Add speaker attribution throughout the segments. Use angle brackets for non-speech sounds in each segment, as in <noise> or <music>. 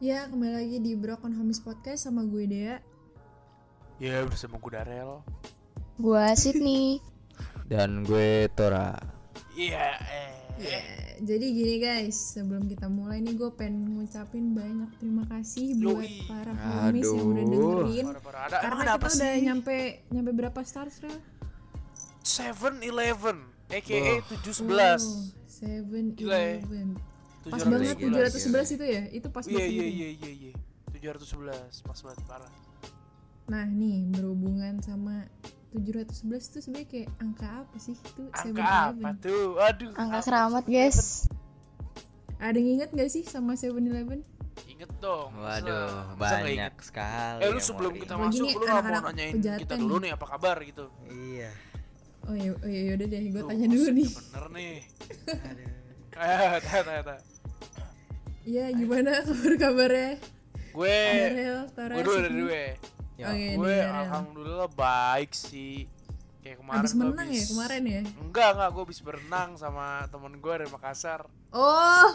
Speaker 1: Ya, kembali lagi di Broken Homies Podcast sama gue Dea.
Speaker 2: Ya bersama gue Darel
Speaker 3: Gua Sydney.
Speaker 4: dan gue Tora
Speaker 2: Iya
Speaker 1: Ya, jadi gini guys, sebelum kita mulai nih gue pengen ngucapin banyak terima kasih buat
Speaker 2: Yoi.
Speaker 1: para homies yang udah
Speaker 4: Aduh.
Speaker 1: dengerin.
Speaker 2: Para-para eh, ada
Speaker 1: Karena
Speaker 2: Emang
Speaker 1: kita
Speaker 2: ada apa
Speaker 1: udah
Speaker 2: sih?
Speaker 1: nyampe nyampe berapa stars, Rel?
Speaker 2: Seven Eleven AKA tujuh sebelas
Speaker 1: Seven
Speaker 2: Gila ya.
Speaker 1: Eleven. Hmm. Pas
Speaker 4: 711.
Speaker 1: banget 711 itu ya, itu pas
Speaker 2: Iya
Speaker 1: banget.
Speaker 2: iya iya iya iya Tujuh ratus sebelas Pas banget parah
Speaker 1: Nah nih berhubungan sama 711 itu sebenarnya kayak angka apa sih itu?
Speaker 2: Angka apa
Speaker 1: 7-Eleven.
Speaker 2: tuh Aduh
Speaker 3: Angka
Speaker 2: apa
Speaker 3: keramat,
Speaker 2: sih?
Speaker 3: guys.
Speaker 1: Ada yang inget gak sih sama 7-Eleven?
Speaker 2: Inget dong masa-
Speaker 4: waduh
Speaker 2: masa nggak
Speaker 4: banyak
Speaker 2: inget?
Speaker 4: sekali
Speaker 2: Eh lu
Speaker 4: memori.
Speaker 2: sebelum kita
Speaker 1: Lagi
Speaker 2: masuk
Speaker 1: nih,
Speaker 2: Lu nggak mau
Speaker 1: anak-anak
Speaker 2: nanyain
Speaker 1: pejaten
Speaker 2: kita
Speaker 1: nih.
Speaker 2: dulu nih apa kabar gitu
Speaker 4: iya
Speaker 1: Oh iya, oh iya yaudah deh, gue
Speaker 2: Tuh,
Speaker 1: tanya dulu
Speaker 2: maksudnya
Speaker 1: nih.
Speaker 2: Bener nih <laughs>
Speaker 4: Aduh.
Speaker 2: Eh, tanya, tanya, tanya.
Speaker 1: Iya gimana <laughs> kabar kabarnya?
Speaker 2: Gue
Speaker 1: Ariel, Tara,
Speaker 2: Gue Eh, dulu
Speaker 1: Sydney.
Speaker 2: dari gue
Speaker 4: Ya,
Speaker 1: Oke,
Speaker 2: gue
Speaker 1: nih, Ariel.
Speaker 2: alhamdulillah baik sih kayak kemarin
Speaker 1: Abis
Speaker 2: gue
Speaker 1: menang ya
Speaker 2: habis-
Speaker 1: kemarin ya?
Speaker 2: enggak enggak gue habis berenang sama temen gue dari Makassar
Speaker 1: Oh,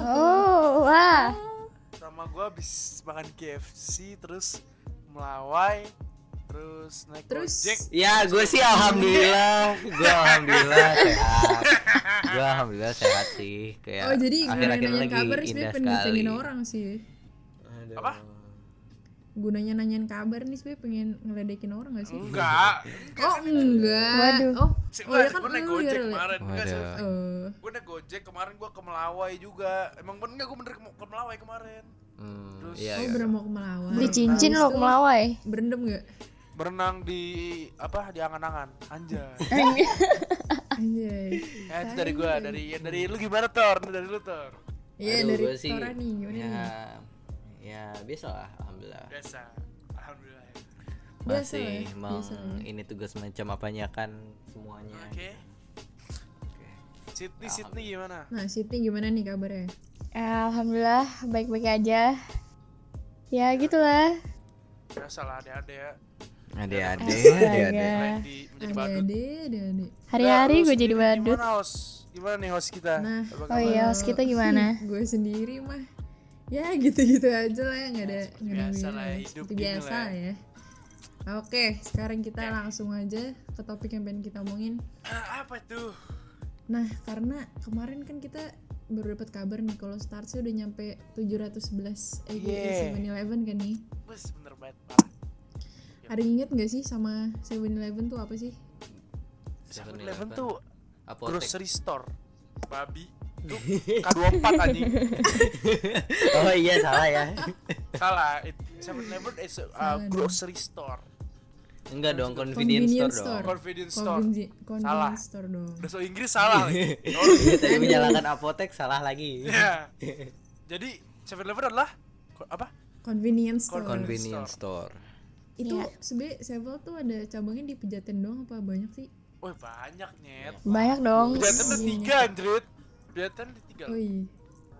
Speaker 3: Oh, wah.
Speaker 2: sama gue habis makan KFC terus melawai terus naik
Speaker 1: Terus?
Speaker 2: gojek
Speaker 4: ya gue sih alhamdulillah gue alhamdulillah sehat gue alhamdulillah sehat sih kayak
Speaker 1: oh jadi
Speaker 4: akhir-akhir
Speaker 1: nanya
Speaker 4: lagi
Speaker 1: kabar
Speaker 4: indah
Speaker 1: sebenernya pengen
Speaker 4: sekali
Speaker 1: ngecengin orang sih
Speaker 2: Apa?
Speaker 1: Gunanya nanyain kabar nih sebenernya pengen ngeledekin orang gak sih?
Speaker 2: enggak
Speaker 1: Oh enggak
Speaker 3: Waduh.
Speaker 1: Oh,
Speaker 2: sih
Speaker 1: oh
Speaker 2: gue
Speaker 1: ya kan
Speaker 2: gue naik
Speaker 1: lu ya Rel,
Speaker 2: gojek
Speaker 1: ya?
Speaker 2: kemarin enggak sih
Speaker 4: Waduh.
Speaker 1: Oh,
Speaker 2: gue naik gojek kemarin gue ke Melawai juga emang bener enggak gue bener ke, ke Melawai kemarin
Speaker 4: Hmm,
Speaker 2: Terus-
Speaker 4: iya,
Speaker 1: oh
Speaker 4: iya.
Speaker 1: bener mau ke Melawai
Speaker 3: Beli cincin
Speaker 1: Habis
Speaker 3: lo
Speaker 1: itu
Speaker 3: melawai.
Speaker 1: Berendam
Speaker 4: <laughs>
Speaker 1: gak?
Speaker 2: berenang di apa di angan-angan anjay
Speaker 1: Eh, Anjay
Speaker 2: ya itu dari gue dari dari lu gimana Tor dari lu Tor
Speaker 1: Iya
Speaker 4: Aduh,
Speaker 1: dari
Speaker 4: gua sih-
Speaker 1: Tora nih gimana
Speaker 4: ya
Speaker 1: nih?
Speaker 4: ya biasa lah alhamdulillah
Speaker 2: biasa alhamdulillah
Speaker 1: Biasa lah
Speaker 4: masih
Speaker 1: ya,
Speaker 4: meng
Speaker 1: biasa lah ya.
Speaker 4: ini tugas macam apanya kan semuanya
Speaker 2: oke Sydney Sydney gimana
Speaker 1: Nah Siti gimana nih kabarnya?
Speaker 3: Ya, Alhamdulillah baik-baik aja. Ya gitulah.
Speaker 2: biasa lah ada-ada ya
Speaker 4: Adik-adik,
Speaker 3: Astaga.
Speaker 4: adik-adik.
Speaker 2: Selain
Speaker 1: Ade,
Speaker 2: di menjadi badut
Speaker 1: ade, ade
Speaker 3: Hari-hari
Speaker 2: Nah, lu
Speaker 3: gue jadi
Speaker 2: sendiri
Speaker 3: badut.
Speaker 2: Gimana host? Gimana nih host kita?
Speaker 1: Nah,
Speaker 2: Apa
Speaker 3: Oh
Speaker 2: kabar?
Speaker 3: iya, host kita gimana?
Speaker 1: <laughs> gue sendiri mah ya gitu-gitu aja lah ya nggak ada
Speaker 2: seperti
Speaker 1: nggak ada
Speaker 2: biasa
Speaker 1: bedanya
Speaker 2: lah ya,
Speaker 1: ya,
Speaker 2: hidup
Speaker 1: seperti
Speaker 2: gini
Speaker 1: biasa
Speaker 2: lah Ya.
Speaker 1: ya oke sekarang kita langsung aja ke topik yang pengen kita omongin
Speaker 2: Ah, apa tuh?
Speaker 1: nah karena kemarin kan kita baru dapat kabar nih kalau Starsnya udah nyampe 711 eh
Speaker 2: Yeah.
Speaker 1: 7-Eleven kan nih
Speaker 2: Bus bener banget parah.
Speaker 1: ada yang inget nggak sih sama 7-Eleven tuh apa sih
Speaker 2: 7-Eleven
Speaker 4: 7-Eleven.
Speaker 2: tuh
Speaker 4: Apotek.
Speaker 2: grocery store. Babi. Tuh K24 anjing.
Speaker 4: oh iya salah ya
Speaker 2: <laughs> Salah. it- 7-Eleven is a uh,
Speaker 1: Salah dong.
Speaker 2: grocery store.
Speaker 4: enggak dong
Speaker 1: Convenience store.
Speaker 4: convenience, store, dong
Speaker 2: Convenience store.
Speaker 1: Conveni- convenience store dong
Speaker 2: Udah so Inggris salah Oh, lagi.
Speaker 4: Iya, tadi menyalahkan apotek salah lagi
Speaker 2: Ya. Jadi 7-Eleven adalah ko- apa?
Speaker 1: convenience store
Speaker 4: convenience store
Speaker 1: itu
Speaker 3: Iya.
Speaker 1: sebenarnya Sevel tuh ada cabangnya di Pejaten doang apa banyak sih
Speaker 2: Wah banyak nyet.
Speaker 1: Iya.
Speaker 3: Banyak dong.
Speaker 2: Pejaten ada tiga, Andrit. Pejaten ada tiga.
Speaker 1: Oh iya.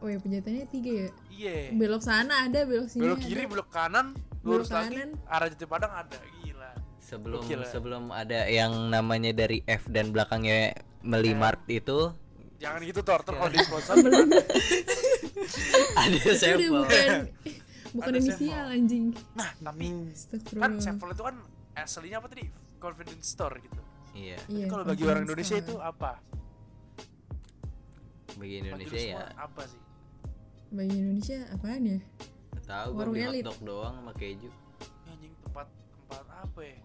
Speaker 1: Oh iya pejatannya tiga ya.
Speaker 2: Iya.
Speaker 1: Belok sana ada, belok sini.
Speaker 2: belok kiri
Speaker 1: ada.
Speaker 2: belok kanan lurus
Speaker 1: Belok
Speaker 2: lagi
Speaker 1: kanan.
Speaker 2: arah jati padang ada gila
Speaker 4: sebelum
Speaker 2: Gokil ya.
Speaker 4: sebelum ada yang namanya dari F dan belakangnya
Speaker 2: Iya.
Speaker 4: melimart itu <laughs>
Speaker 2: jangan gitu tor
Speaker 1: Iya.
Speaker 2: Tor, kalau di sponsor belum
Speaker 4: ada
Speaker 1: Itu udah
Speaker 4: sampel
Speaker 1: bukan <laughs> bukan
Speaker 2: Ada
Speaker 1: inisial
Speaker 2: Sevel.
Speaker 1: anjing.
Speaker 2: nah tapi
Speaker 1: Hmm.
Speaker 2: kan
Speaker 1: Astagfirullah.
Speaker 2: Sevel itu kan aslinya apa tadi convenience store gitu
Speaker 4: iya
Speaker 1: Iya,
Speaker 2: kalau bagi
Speaker 1: convenience
Speaker 2: orang Indonesia
Speaker 1: store.
Speaker 2: itu apa
Speaker 4: bagi
Speaker 2: Bagi lu
Speaker 4: Indonesia ya
Speaker 2: semua apa sih
Speaker 1: bagi Indonesia apaan ya?
Speaker 4: nggak tahu gue
Speaker 1: Warung
Speaker 4: beli
Speaker 1: elit.
Speaker 4: hotdog doang sama keju
Speaker 2: Ya, anjing tempat tempat apa ya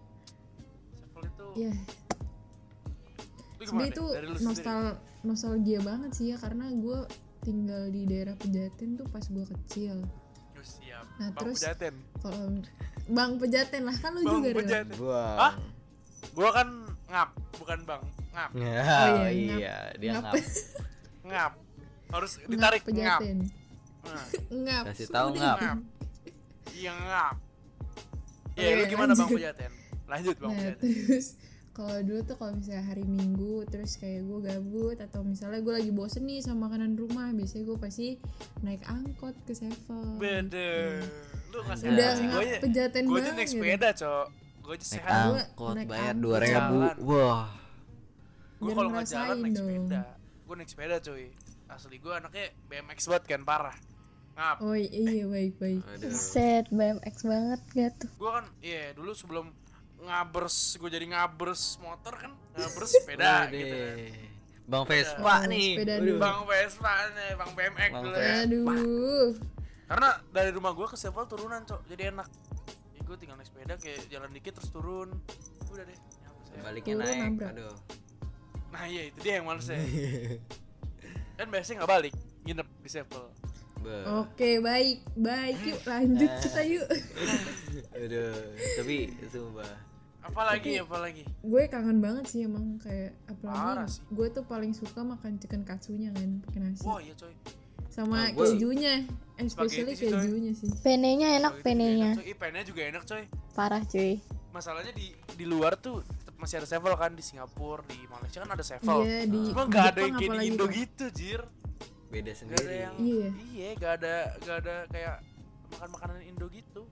Speaker 2: Sevel itu
Speaker 1: Ya,
Speaker 2: Lu gimana
Speaker 1: sebenarnya
Speaker 2: deh?
Speaker 1: itu
Speaker 2: Dari lu sendiri.
Speaker 1: nostal nostalgia banget sih ya karena gue tinggal di daerah Pejaten tuh pas gue kecil.
Speaker 2: Duh, Oh, siap
Speaker 1: Nah,
Speaker 2: Bang
Speaker 1: terus-
Speaker 2: Pejaten
Speaker 1: Kalau Bang Pejaten lah kan lu
Speaker 2: Bang
Speaker 1: juga Ril.
Speaker 2: Pejaten Hah?
Speaker 4: Wah.
Speaker 2: gua kan ngap bukan bang ngap
Speaker 1: iya,
Speaker 4: Oh, iya,
Speaker 1: ngap.
Speaker 4: dia
Speaker 1: Ngap.
Speaker 4: ngap.
Speaker 2: ngap harus
Speaker 1: Ngap
Speaker 2: ditarik ngap
Speaker 1: Pejaten.
Speaker 2: Nah,
Speaker 1: Ngap.
Speaker 4: Kasih tahu
Speaker 1: Udah.
Speaker 4: ngap.
Speaker 2: iya ngap ya
Speaker 1: Oke,
Speaker 2: lu gimana bang
Speaker 1: lanjut.
Speaker 2: Pejaten lanjut bang
Speaker 1: Nah
Speaker 2: Pejaten
Speaker 1: terus <laughs> kalau dulu tuh kalau misalnya hari Minggu terus kayak gue gabut atau misalnya gue lagi bosen nih sama makanan rumah biasanya gue pasti naik angkot ke Sevel.
Speaker 2: Beda. Lu kasih
Speaker 1: Udah
Speaker 2: sih
Speaker 1: nggak
Speaker 2: gue aja.
Speaker 1: pejaten
Speaker 2: Gue
Speaker 1: banget.
Speaker 2: aja naik
Speaker 1: gitu.
Speaker 2: sepeda, Cok. Gue aja
Speaker 4: Naik
Speaker 2: sehat.
Speaker 1: ang-
Speaker 4: angkot
Speaker 1: naik
Speaker 4: bayar
Speaker 1: angkot.
Speaker 4: dua ribu.
Speaker 2: Jalan.
Speaker 4: Wah.
Speaker 2: Gue
Speaker 1: biar
Speaker 2: kalau nggak
Speaker 1: ngerasain
Speaker 2: jalan naik
Speaker 1: dong.
Speaker 2: sepeda. Gue naik sepeda, cuy. Asli gue anaknya BMX banget kan parah. Ngap.
Speaker 1: Oh i- iya baik baik.
Speaker 4: Aduh.
Speaker 3: Set BMX banget gak tuh
Speaker 2: Gue kan, iya dulu sebelum ngabers, gue jadi ngabers motor kan, ngabers
Speaker 4: <laughs> Udah
Speaker 2: sepeda gitu. kan.
Speaker 4: deh. Bang Vespa
Speaker 1: Bang
Speaker 4: nih.
Speaker 1: sepeda
Speaker 4: Aduh.
Speaker 1: dulu.
Speaker 2: Bang Vespa nih, Bang BMX
Speaker 4: Bang
Speaker 2: dulu ya.
Speaker 4: Vespa.
Speaker 1: Aduh.
Speaker 2: Karena dari rumah gue ke Sevel turunan, Cok. Jadi enak. Ya, gue tinggal naik sepeda kayak jalan dikit terus turun. Udah deh. nyampe Sevel.
Speaker 4: Baliknya
Speaker 1: Turun
Speaker 4: naik.
Speaker 1: nabrak.
Speaker 4: Aduh.
Speaker 2: Nah, iya itu dia yang males ya.
Speaker 4: <laughs>
Speaker 2: kan biasanya nggak balik, nginep di Sevel.
Speaker 4: Be.
Speaker 2: Oh.
Speaker 1: Oke baik baik yuk lanjut kita
Speaker 2: Nah.
Speaker 1: yuk.
Speaker 4: <laughs> Aduh. Tapi sumpah.
Speaker 2: Apalagi, apalagi.
Speaker 1: gue kangen banget sih emang kayak
Speaker 2: Parah
Speaker 1: apalagi
Speaker 2: sih.
Speaker 1: gue tuh paling suka makan chicken katsunya kan pakai nasi
Speaker 2: Wah, iya coy.
Speaker 1: sama
Speaker 4: Ah, gua-
Speaker 1: kejunya especially
Speaker 2: Nah, Spaghetti sih, coy.
Speaker 1: kejunya sih
Speaker 3: Penenya
Speaker 2: Spaghetti
Speaker 3: enak
Speaker 2: juga
Speaker 3: penenya
Speaker 2: enak, coy. Ih, penenya juga enak, coy.
Speaker 3: Parah cuy <laughs>
Speaker 2: Masalahnya di di luar tuh tetap masih ada Sevel kan di Singapura, di Malaysia kan ada Sevel.
Speaker 1: iya di
Speaker 2: Cuma
Speaker 1: di
Speaker 2: nggak
Speaker 1: Jepang
Speaker 2: ada yang kayak di
Speaker 1: apalagi kan.
Speaker 2: Indo
Speaker 1: tuh.
Speaker 2: gitu, Jir. Gak
Speaker 4: Beda
Speaker 2: ada
Speaker 4: sendiri.
Speaker 2: yang
Speaker 1: Iya.
Speaker 2: iya, gak ada gak ada kayak makan makanan Indo gitu.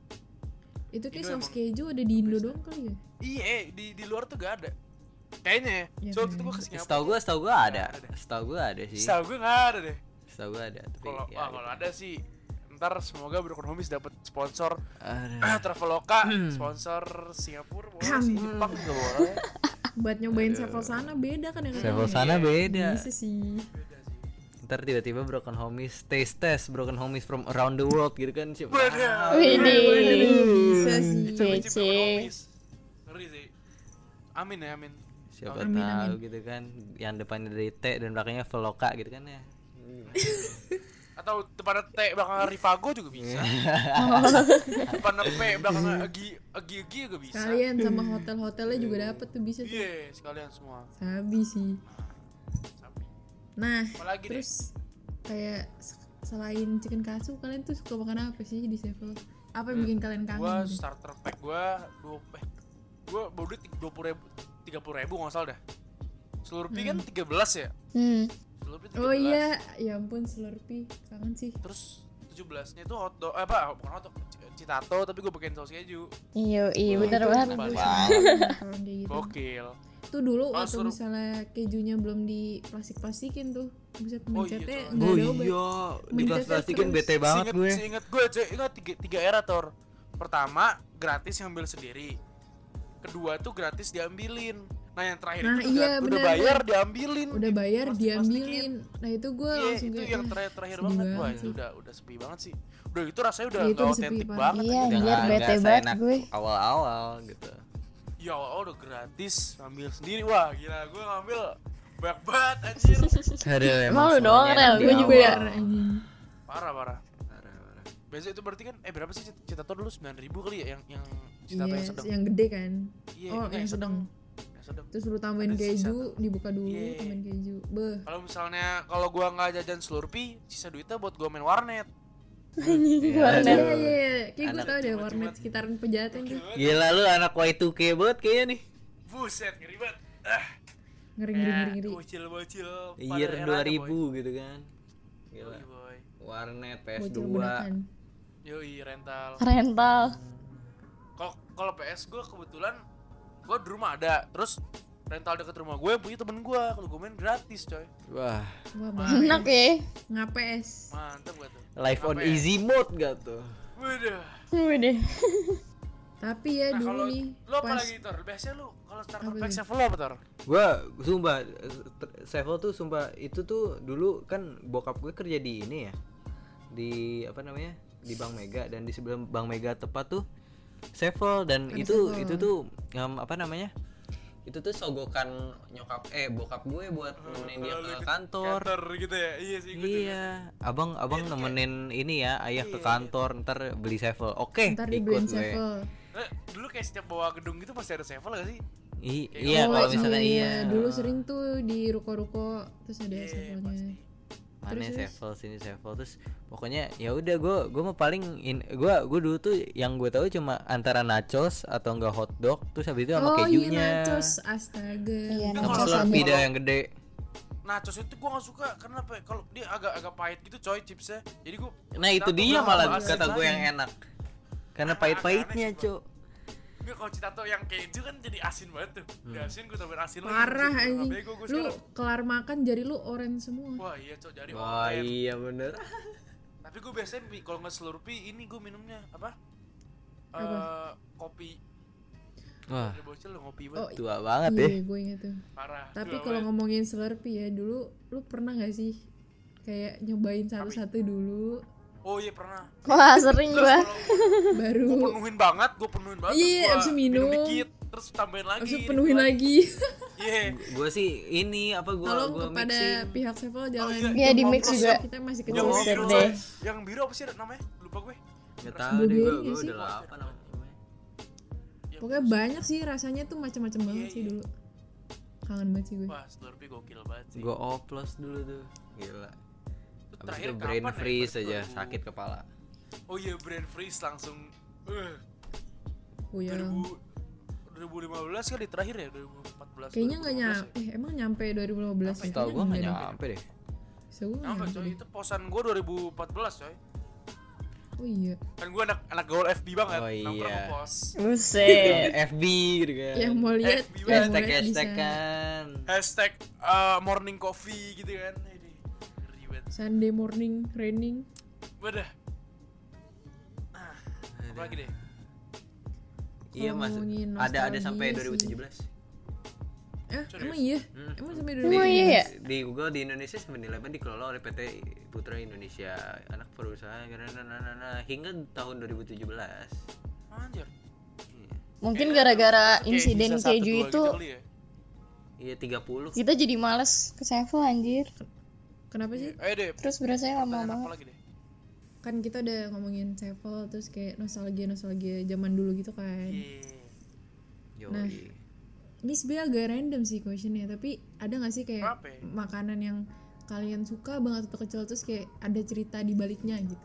Speaker 1: itu kayak
Speaker 2: Indo
Speaker 1: saus
Speaker 2: Gitu emang
Speaker 1: keju ada di Indo
Speaker 2: biasa.
Speaker 1: doang kali ya
Speaker 2: Iya, di di luar tuh gak ada. Kayaknya.
Speaker 1: Iya,
Speaker 2: ya so waktu
Speaker 1: kayaknya.
Speaker 2: itu gue ke Singapura.
Speaker 4: Setahu gua, setahu gua ada.
Speaker 2: Ada.
Speaker 4: Setahu gua ada sih.
Speaker 2: Setahu gue gak ada deh.
Speaker 4: Setahu gua ada. Tapi
Speaker 2: Kalau
Speaker 4: ya
Speaker 2: wah, kalau
Speaker 4: gitu.
Speaker 2: ada sih ntar semoga Broken Homies dapat
Speaker 4: <clears throat>
Speaker 2: sponsor <clears throat>
Speaker 4: Aduh.
Speaker 2: Hmm. Traveloka,
Speaker 1: Hmm.
Speaker 2: sponsor Singapura, boleh sih Jepang juga <laughs> boleh.
Speaker 1: buat nyobain
Speaker 2: Iya.
Speaker 1: sevel sana beda kan ya
Speaker 4: Sevel sana beda.
Speaker 1: bisa sih
Speaker 2: Beda sih.
Speaker 4: Iya, Ntar tiba-tiba broken homies taste test broken homies from around the world gitu kan siapa?
Speaker 2: Beda.
Speaker 3: Widih
Speaker 1: bisa sih
Speaker 2: Benci
Speaker 3: Coba-
Speaker 2: Broken
Speaker 3: Kece.
Speaker 2: Homies. Ngeri sih. Amin ya, amin.
Speaker 4: Siapa
Speaker 1: Amin,
Speaker 4: tahu
Speaker 1: amin.
Speaker 4: gitu kan yang depannya dari T dan belakangnya Veloka gitu kan ya.
Speaker 2: Atau depannya T belakang Rivago juga bisa.
Speaker 4: Iya.
Speaker 2: depannya P belakang Agi Agi Agi juga bisa.
Speaker 1: kalian sama hotel-hotelnya juga dapat tuh bisa tuh
Speaker 2: Iya, sekalian semua.
Speaker 1: sabi sih
Speaker 2: Sapi.
Speaker 1: nah
Speaker 2: Apalagi deh.
Speaker 1: terus kayak s- selain chicken katsu kalian tuh suka makan apa sih di sevel apa yang bikin kalian
Speaker 2: Hmm, Gua
Speaker 1: kangen gitu?
Speaker 2: starter pack gua dua eh gua baru duit dua puluh ribu tiga puluh ribu nggak salah dah. Slurpee kan tiga belas ya.
Speaker 3: hmm.
Speaker 2: Slurpee tiga
Speaker 1: Oh iya, ya ampun Slurpee, kangen sih.
Speaker 2: Terus tujuh belasnya itu hotdog eh, apa bukan hotdog c- citato tapi gua pakein saus keju.
Speaker 3: Iya iya bener
Speaker 1: Itu
Speaker 3: banget
Speaker 1: tuh gue
Speaker 2: Wow.
Speaker 1: suka kalau kayak gitu.
Speaker 2: Gokil.
Speaker 1: Tuh dulu
Speaker 2: Oh,
Speaker 1: waktu
Speaker 2: suruh-
Speaker 1: misalnya kejunya belum di plastik-plastikin tuh, bisa
Speaker 2: Oh,
Speaker 1: mencetnya
Speaker 2: iya, coy.
Speaker 1: nggak ada obat.
Speaker 4: di
Speaker 1: Mending
Speaker 4: kelas
Speaker 1: kita
Speaker 4: plastikin
Speaker 1: terus.
Speaker 4: bete banget
Speaker 2: Seinget-
Speaker 4: gue.
Speaker 2: Seinget gue aja ingat tiga, tiga era tor. Pertama gratis ngambil sendiri. Kedua tuh gratis diambilin. Nah yang terakhir
Speaker 1: Nah,
Speaker 2: itu
Speaker 1: iya,
Speaker 2: grat- udah
Speaker 1: benar,
Speaker 2: bayar diambilin.
Speaker 1: Udah bayar
Speaker 2: Plastik-plastikin.
Speaker 1: diambilin. Nah itu gue
Speaker 2: Iya,
Speaker 1: langsung
Speaker 2: itu
Speaker 1: kayak
Speaker 2: yang
Speaker 1: "Ah,
Speaker 2: terakhir terakhir
Speaker 1: sedih
Speaker 2: banget wah
Speaker 1: banget
Speaker 2: itu
Speaker 1: sih.
Speaker 2: udah udah sepi banget sih udah itu rasanya udah
Speaker 1: Iya, itu
Speaker 2: nggak
Speaker 1: udah sepi
Speaker 2: otentik
Speaker 1: parah.
Speaker 2: banget gitu
Speaker 3: Iya
Speaker 4: Udah
Speaker 3: anjir
Speaker 4: nggak
Speaker 3: bete
Speaker 4: ada
Speaker 3: banget
Speaker 4: seenak
Speaker 3: gue
Speaker 4: Awal-awal gitu.
Speaker 2: ya Allah udah gratis ngambil sendiri wah gila gue ngambil banyak banget
Speaker 1: <laughs>
Speaker 2: anjir
Speaker 4: Aduh,
Speaker 3: Emang lu
Speaker 4: semuanya
Speaker 3: doang,
Speaker 4: enak
Speaker 3: Rel?
Speaker 4: di
Speaker 3: Gue juga.
Speaker 4: awal.
Speaker 1: Parah, anjing.
Speaker 2: parah parah
Speaker 4: Parah, parah.
Speaker 2: biasanya itu berarti kan eh berapa sih cita- citato dulu sembilan ribu kali ya yang yang
Speaker 1: Iya,
Speaker 2: citato yang sedang
Speaker 1: yang gede kan.
Speaker 2: iya
Speaker 1: oh,
Speaker 2: enggak,
Speaker 1: yang
Speaker 2: yang sedang
Speaker 1: sedang.
Speaker 2: yang sedang
Speaker 1: Terus lu tambahin
Speaker 2: Ada sisa
Speaker 1: keju, dibuka dulu,
Speaker 2: Iya.
Speaker 1: tambahin keju. Beh,
Speaker 2: kalau misalnya kalau gue nggak jajan slurpee sisa duitnya buat gue main warnet
Speaker 4: Iya,
Speaker 1: Iya,
Speaker 3: Warnet.
Speaker 4: aduh.
Speaker 1: iya, iya. Kayak gue
Speaker 4: Anak
Speaker 1: tau deh
Speaker 2: cuma-cuma.
Speaker 1: warnet sekitaran pejaten tuh.
Speaker 4: Gila lu anak Y2K banget kayaknya nih.
Speaker 2: buset ngeri banget ah
Speaker 1: Ngeri, ngeri, ngeri,
Speaker 2: kayak
Speaker 1: ngeri.
Speaker 2: bocil bocil
Speaker 4: Year 2000 gitu kan. Gila.
Speaker 2: ya, Yoi boy,
Speaker 4: Warnet
Speaker 1: Bocil
Speaker 4: PS2.
Speaker 1: beneran.
Speaker 2: yoi rental.
Speaker 3: Rental
Speaker 2: kalau kalau PS gue kebetulan gue di rumah ada terus rental deket rumah gue punya temen gue kalau gue main gratis coy
Speaker 4: Wah,
Speaker 2: Nah,
Speaker 1: Wah,
Speaker 3: Enak
Speaker 1: banget.
Speaker 3: ya
Speaker 1: Ngapes.
Speaker 2: mantep gak tuh
Speaker 4: live on
Speaker 2: Apa ya?
Speaker 4: easy mode gak tuh?
Speaker 2: waduh
Speaker 3: Udah
Speaker 1: Tapi ya
Speaker 2: nah
Speaker 1: dulu
Speaker 2: kalau
Speaker 1: nih
Speaker 2: lo apa
Speaker 1: pas
Speaker 2: lagi tor biasanya lo kalau starter
Speaker 1: Apa
Speaker 2: pack
Speaker 1: tuh?
Speaker 2: save lo apa tor
Speaker 4: gua sumpah Sevel tuh sumpah itu tuh dulu kan bokap gue kerja di ini ya di apa namanya di Bank Mega dan di sebelum Bank Mega tepat tuh Sevel dan
Speaker 1: Ada
Speaker 4: itu
Speaker 1: Sevel.
Speaker 4: itu tuh em, apa namanya itu tuh sogokan nyokap eh bokap gue buat nemenin dia
Speaker 2: kalau lu
Speaker 4: ke
Speaker 2: ikut
Speaker 4: kantor
Speaker 2: gitu ya iya sih gue
Speaker 4: Iya, abang abang nemenin ini ya ayah ke kantor ntar beli sevel. Oke,
Speaker 1: ntar
Speaker 4: ikut
Speaker 1: dibeliin
Speaker 4: gue.
Speaker 1: sevel.
Speaker 2: juga. Eh, dulu kayak setiap bawa gedung gitu pasti ada save gak sih
Speaker 4: I- iya
Speaker 1: Oh,
Speaker 4: kalau misalnya iya.
Speaker 1: Dulu sering tuh di ruko-ruko terus
Speaker 2: Iya,
Speaker 1: ada sevelnya.
Speaker 4: mana sevel sini sevel terus pokoknya ya udah gue gue mah paling in gue gue dulu tuh yang gue tahu cuma antara nachos atau enggak hotdog terus habis itu sama
Speaker 1: Oh iya
Speaker 4: kejunya
Speaker 1: nachos, astaga.
Speaker 3: Iya,
Speaker 1: Itu
Speaker 4: sama
Speaker 2: Kalau
Speaker 1: kalau
Speaker 4: slurpee
Speaker 2: sama-
Speaker 4: dah yang gede
Speaker 2: Nachos itu gue gak suka karena apa ya, kalau dia agak agak pahit gitu coy chipsnya jadi gue
Speaker 4: nah itu
Speaker 2: Citato
Speaker 4: dia
Speaker 2: doang,
Speaker 4: malah
Speaker 2: asin
Speaker 4: kata gue
Speaker 2: banget.
Speaker 4: yang enak karena
Speaker 2: Aneh-aneh
Speaker 4: pahit-pahitnya
Speaker 2: sih, Bang.
Speaker 4: cok
Speaker 2: Nggak, kalau citato yang keju kan jadi asin banget tuh udah asin gue tambahin asin lagi
Speaker 1: parah
Speaker 2: Udah
Speaker 1: anjing.
Speaker 2: bego
Speaker 1: Lu
Speaker 2: gue sekarang.
Speaker 1: kelar makan jari lu orange semua.
Speaker 2: Wah iya cok jadi
Speaker 4: wah
Speaker 2: oren.
Speaker 4: iya bener
Speaker 2: Nah, tapi gue biasanya mi- kalau nggak slurpee ini gue minumnya apa Eh
Speaker 1: Apa?
Speaker 2: kopi
Speaker 4: Wah,
Speaker 2: ada bocil lo ngopi
Speaker 1: Oh,
Speaker 2: banget
Speaker 4: tua banget ya.
Speaker 1: iya, gue inget tuh.
Speaker 2: parah
Speaker 1: Tapi
Speaker 2: Dua
Speaker 1: kalau
Speaker 2: banget.
Speaker 1: ngomongin Slurpee ya dulu, lu pernah gak sih kayak nyobain satu-satu dulu,
Speaker 2: oh iya pernah
Speaker 3: Wah
Speaker 1: Iya.
Speaker 3: sering
Speaker 2: terus
Speaker 3: gua.
Speaker 2: gue
Speaker 1: baru
Speaker 2: penuhin banget gue penuhin banget terus
Speaker 1: Iya,
Speaker 2: gua
Speaker 1: abis itu minum.
Speaker 2: dikit terus tambahin lagi
Speaker 1: abis itu
Speaker 2: dikit
Speaker 1: penuhin lagi.
Speaker 2: iya
Speaker 4: Gue sih ini apa gue
Speaker 1: Tolong
Speaker 4: gua
Speaker 1: kepada
Speaker 4: mixing.
Speaker 1: pihak Sevel jangan. gitu
Speaker 2: iya,
Speaker 3: Iya, di mix
Speaker 2: kompres
Speaker 3: juga.
Speaker 1: Kita masih
Speaker 2: yang
Speaker 1: kecil
Speaker 3: Jangan
Speaker 2: biru
Speaker 1: banget.
Speaker 3: deh.
Speaker 2: yang biru apa sih namanya lupa gue
Speaker 4: Nggak tahu deh
Speaker 1: Blueberry
Speaker 4: gue
Speaker 1: nggak
Speaker 4: gue
Speaker 1: sih?
Speaker 4: udah apa namanya.
Speaker 2: Yang
Speaker 1: Pokoknya
Speaker 2: biru.
Speaker 1: banyak sih rasanya tuh macam-macam banget
Speaker 2: Iya,
Speaker 1: sih
Speaker 2: iya.
Speaker 1: dulu. Kangen banget sih gue.
Speaker 2: wah slurpee gokil banget sih
Speaker 4: Gue oplos dulu tuh. Gila.
Speaker 2: Itu
Speaker 4: Abis
Speaker 2: terakhir
Speaker 4: itu brain
Speaker 2: kapan ya?
Speaker 4: freeze
Speaker 2: Berarti
Speaker 4: aja,
Speaker 2: 2000.
Speaker 4: sakit kepala.
Speaker 2: oh iya brain freeze langsung eh,
Speaker 1: Puyeng.
Speaker 2: 2000 2015 kali terakhir ya 2014
Speaker 1: Kayaknya nggak
Speaker 2: 2015 ya?
Speaker 1: nyampe. Eh emang nyampe 2015
Speaker 4: Setahu gue nggak nyampe deh.
Speaker 1: Bisa gue nggak
Speaker 2: Nyampe
Speaker 1: ya? nyampe.
Speaker 2: coy,
Speaker 1: deh.
Speaker 2: itu posan gue 2014 coy
Speaker 1: Oh iya.
Speaker 2: Kan gue anak, anak gaul FB banget,
Speaker 4: Oh iya.
Speaker 2: nongkrong ke pos
Speaker 3: Buset.
Speaker 4: FB gitu kan.
Speaker 1: Yang Iya, mau lihat,
Speaker 2: FB
Speaker 1: yang mau
Speaker 4: hashtag
Speaker 1: lihat bisa.
Speaker 4: hashtag kan.
Speaker 2: Hashtag eh, morning coffee gitu kan Ini, ngeri banget
Speaker 1: Sunday morning raining.
Speaker 2: Wadah Ah, Apa lagi deh?
Speaker 4: Iya mas.
Speaker 1: ngomongin
Speaker 4: Ada ada
Speaker 1: nostalgia
Speaker 4: sampai
Speaker 1: sih.
Speaker 4: 2017.
Speaker 1: Eh
Speaker 2: Serius?
Speaker 1: emang iya.
Speaker 4: Hmm.
Speaker 1: Emang sampai gitu?
Speaker 4: Di-
Speaker 1: 2017.
Speaker 3: iya ya?
Speaker 4: Di Google di Indonesia 9-11 dikelola oleh PT Putra Indonesia anak perusahaan nah, nah, nah, nah, hingga tahun 2017.
Speaker 2: Ah, Anjir
Speaker 4: Iya.
Speaker 3: Mungkin
Speaker 2: Kayaknya
Speaker 3: gara-gara
Speaker 2: kayak
Speaker 3: insiden
Speaker 2: bisa satu, dua
Speaker 3: keju
Speaker 2: gitu
Speaker 3: itu
Speaker 2: kali ya.
Speaker 4: Iya 30.
Speaker 1: Nah.
Speaker 3: kita jadi males ke Sevel anjir.
Speaker 1: Kenapa sih?
Speaker 2: Ayo deh,
Speaker 3: Terus berasanya lama
Speaker 2: pertanyaan apa
Speaker 3: banget.
Speaker 2: lagi deh?
Speaker 1: Kan kita udah ngomongin Sevel terus kayak nostalgia-nostalgia zaman dulu gitu kan.
Speaker 2: Iya.
Speaker 4: Yoi.
Speaker 1: Nah. Ini sebenernya agak random sih questionnya Tapi ada gak sih kayak
Speaker 2: Kenapa ya?
Speaker 1: makanan yang kalian suka banget waktu kecil Terus kayak ada cerita di baliknya gitu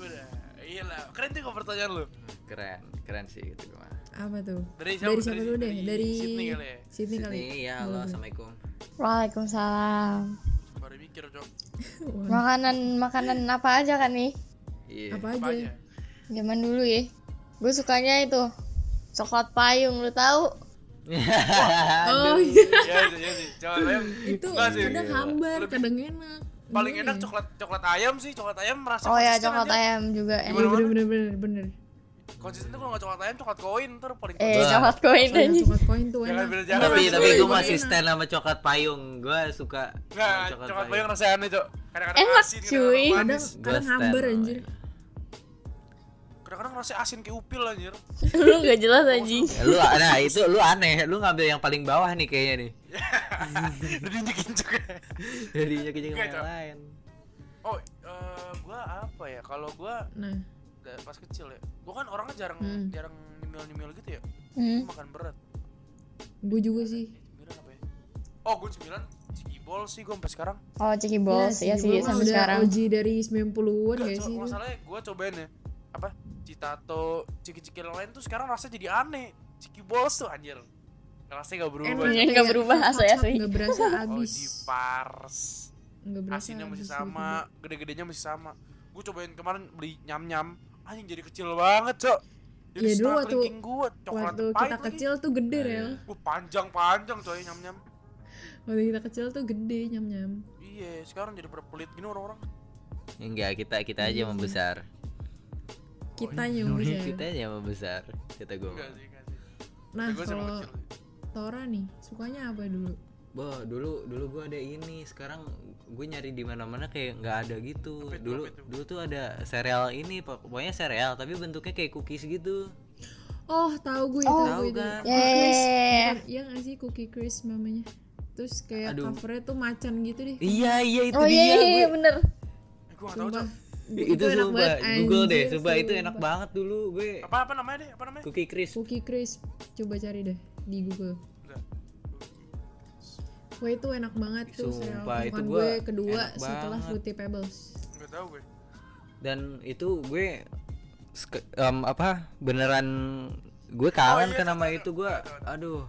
Speaker 2: Udah, iya lah. Keren tuh kalau pertanyaan lu.
Speaker 4: Keren, keren sih gitu mah.
Speaker 1: Apa tuh?
Speaker 2: Dari siapa?
Speaker 1: Dari siapa dulu deh? Dari
Speaker 2: Sydney kali ya.
Speaker 1: Sydney kali <laughs>
Speaker 4: Sini ya, halo, assalamualaikum.
Speaker 3: Waalaikumsalam.
Speaker 2: Baru mikir, Cok.
Speaker 1: Wah,
Speaker 3: Makanan makanan apa aja kan nih?
Speaker 4: Iya.
Speaker 1: Apa
Speaker 2: Apa
Speaker 1: aja?
Speaker 2: aja?
Speaker 3: Zaman dulu ya. Gue sukanya itu coklat payung lu tahu?
Speaker 1: Oh iya
Speaker 2: Iya, iya, iya. sih. Coba bayang.
Speaker 1: Itu
Speaker 2: Enggak sih. iya.
Speaker 1: kadang hambar, kadang enak
Speaker 2: Paling
Speaker 1: Gimana
Speaker 2: enak
Speaker 1: ya?
Speaker 2: coklat coklat ayam sih, coklat ayam merasa
Speaker 3: Hmm. Oh ya
Speaker 2: konsisten
Speaker 3: coklat
Speaker 2: aja.
Speaker 3: ayam juga
Speaker 1: Iya,
Speaker 3: enak.
Speaker 1: Bener
Speaker 2: Gimana, mana?
Speaker 1: bener bener bener
Speaker 2: Konsisten tuh kalau nggak coklat ayam, coklat koin ntar paling
Speaker 3: Eh
Speaker 4: Wah.
Speaker 3: coklat koin
Speaker 1: Kalau
Speaker 3: aja.
Speaker 1: Coklat koin tuh
Speaker 2: Jangan
Speaker 1: enak
Speaker 2: beda- jangan
Speaker 4: tapi
Speaker 2: beda-
Speaker 4: tapi
Speaker 2: Iya,
Speaker 4: gue
Speaker 2: iya,
Speaker 4: masih
Speaker 1: enak.
Speaker 4: stand sama coklat payung. Gue suka
Speaker 2: Enggak,
Speaker 4: sama
Speaker 2: Nah, coklat bayang rasanya aneh, Cok. Kadang-kadang
Speaker 3: Enak,
Speaker 2: asin,
Speaker 3: cuy.
Speaker 2: kadang-kadang
Speaker 1: Kadang,
Speaker 2: manis.
Speaker 4: Gua
Speaker 1: kadang
Speaker 4: stand
Speaker 1: hambar
Speaker 4: sama
Speaker 1: anjir
Speaker 4: itu.
Speaker 2: Kadang-kadang rasanya asin kayak upil anjir. <laughs>
Speaker 3: lu gak jelas anjing.
Speaker 4: Ya, lu nah itu lu aneh lu ngambil yang paling bawah nih kayaknya nih <laughs>
Speaker 2: Udah diinjekin juga.
Speaker 4: jadinya kayaknya
Speaker 2: Enggak,
Speaker 4: yang
Speaker 2: Cok.
Speaker 4: lain
Speaker 2: Oh, eh gua apa ya? Kalau gua
Speaker 1: Nah
Speaker 2: da- pas kecil ya. Gua kan orangnya jarang
Speaker 1: Hmm.
Speaker 2: jarang nyemil-nyemil gitu ya.
Speaker 3: Hmm.
Speaker 2: Gua makan berat.
Speaker 1: gue juga sih
Speaker 2: Cemilan apa ya? Oh, gue cemilan Cikibol sih gue sampai sekarang.
Speaker 3: Oh Ciki Balls ya
Speaker 1: Cibubur
Speaker 3: sih
Speaker 1: Iya mah
Speaker 3: sampai
Speaker 1: udah
Speaker 3: sekarang.
Speaker 1: OG dari 90-an
Speaker 2: Enggak,
Speaker 1: gak
Speaker 2: co-
Speaker 1: sih?
Speaker 2: kalau salah gue cobain ya. Apa? Citato, ciki-ciki yang lain tuh sekarang rasanya jadi aneh. Cikibol tuh anjir. Rasanya gak berubah.
Speaker 3: Enak.
Speaker 2: Oh,
Speaker 3: Yang Iya, nggak berubah rasanya sih.
Speaker 1: Gak
Speaker 2: <laughs>
Speaker 1: berasa abis
Speaker 2: di
Speaker 1: Gak
Speaker 2: pars.
Speaker 1: berasa
Speaker 2: Oh, iya,
Speaker 1: gitu.
Speaker 2: Asinnya masih
Speaker 1: abis
Speaker 2: sama, gede-gedenya masih sama. Gue cobain kemarin beli nyam-nyam. Anjing jadi kecil banget, Cok. Jadi
Speaker 1: Iya, dulu
Speaker 2: setengah
Speaker 1: waktu-
Speaker 2: kelingking gua, coklat
Speaker 1: Waktu kita
Speaker 2: pahit lagi. Nah, iya.
Speaker 1: kecil tuh gede rel
Speaker 2: Gua panjang-panjang coy nyam-nyam.
Speaker 1: Waktu kita kecil tuh gede nyam-nyam
Speaker 2: Iya, sekarang jadi berpelit gini orang-orang.
Speaker 4: enggak kita kita aja
Speaker 1: Iya.
Speaker 4: membesar
Speaker 2: Oh,
Speaker 1: Kita
Speaker 2: iya.
Speaker 1: nyamuk
Speaker 4: kita aja membesar kata gue
Speaker 2: Enggak sih, enggak sih.
Speaker 1: Nah
Speaker 2: Tapi gua sama
Speaker 1: kalau
Speaker 2: kecil sih.
Speaker 1: Tora nih sukanya apa dulu?
Speaker 4: Bo, dulu dulu gue ada ini sekarang gue nyari di mana mana kayak nggak ada gitu
Speaker 2: Apa itu,
Speaker 4: dulu
Speaker 2: apa itu?
Speaker 4: dulu tuh ada sereal ini pok- pokoknya sereal tapi bentuknya kayak cookies gitu
Speaker 1: Oh tahu gue
Speaker 3: Oh,
Speaker 1: tahu gue
Speaker 4: tahu
Speaker 1: itu
Speaker 4: kan.
Speaker 1: Cookie Crisp.
Speaker 3: Yeah.
Speaker 1: Bukan, Iya gak sih Cookie Crisp namanya Terus kayak
Speaker 4: Aduh.
Speaker 1: covernya tuh macan gitu deh
Speaker 4: iya iya itu
Speaker 3: Oh
Speaker 4: dia
Speaker 3: iya, iya
Speaker 4: gua-
Speaker 3: bener.
Speaker 2: Eh, gua enggak tahu,
Speaker 1: Sumpah
Speaker 2: Cok.
Speaker 1: Gue-
Speaker 4: itu
Speaker 1: enak
Speaker 4: sumpah
Speaker 1: banget,
Speaker 4: Google deh
Speaker 1: anjir,
Speaker 4: sumpah itu enak
Speaker 1: sumpah.
Speaker 4: banget dulu gue
Speaker 2: Apa apa namanya deh? Apa namanya?
Speaker 4: cookie crisp
Speaker 1: Cookie Crisp coba cari deh di Google
Speaker 2: Enggak.
Speaker 1: Gue itu enak banget tuh
Speaker 4: Sumpah,
Speaker 1: serial
Speaker 4: itu
Speaker 1: temuan
Speaker 4: gua
Speaker 1: gue kedua
Speaker 4: enak
Speaker 1: setelah
Speaker 4: banget.
Speaker 1: Fruity Pebbles.
Speaker 2: Enggak tahu gue.
Speaker 4: dan itu gue ske- em, apa beneran gue
Speaker 2: iya,
Speaker 4: kangen ke nama
Speaker 2: tahu,
Speaker 4: itu gue
Speaker 2: tahu, tahu, tahu.
Speaker 4: aduh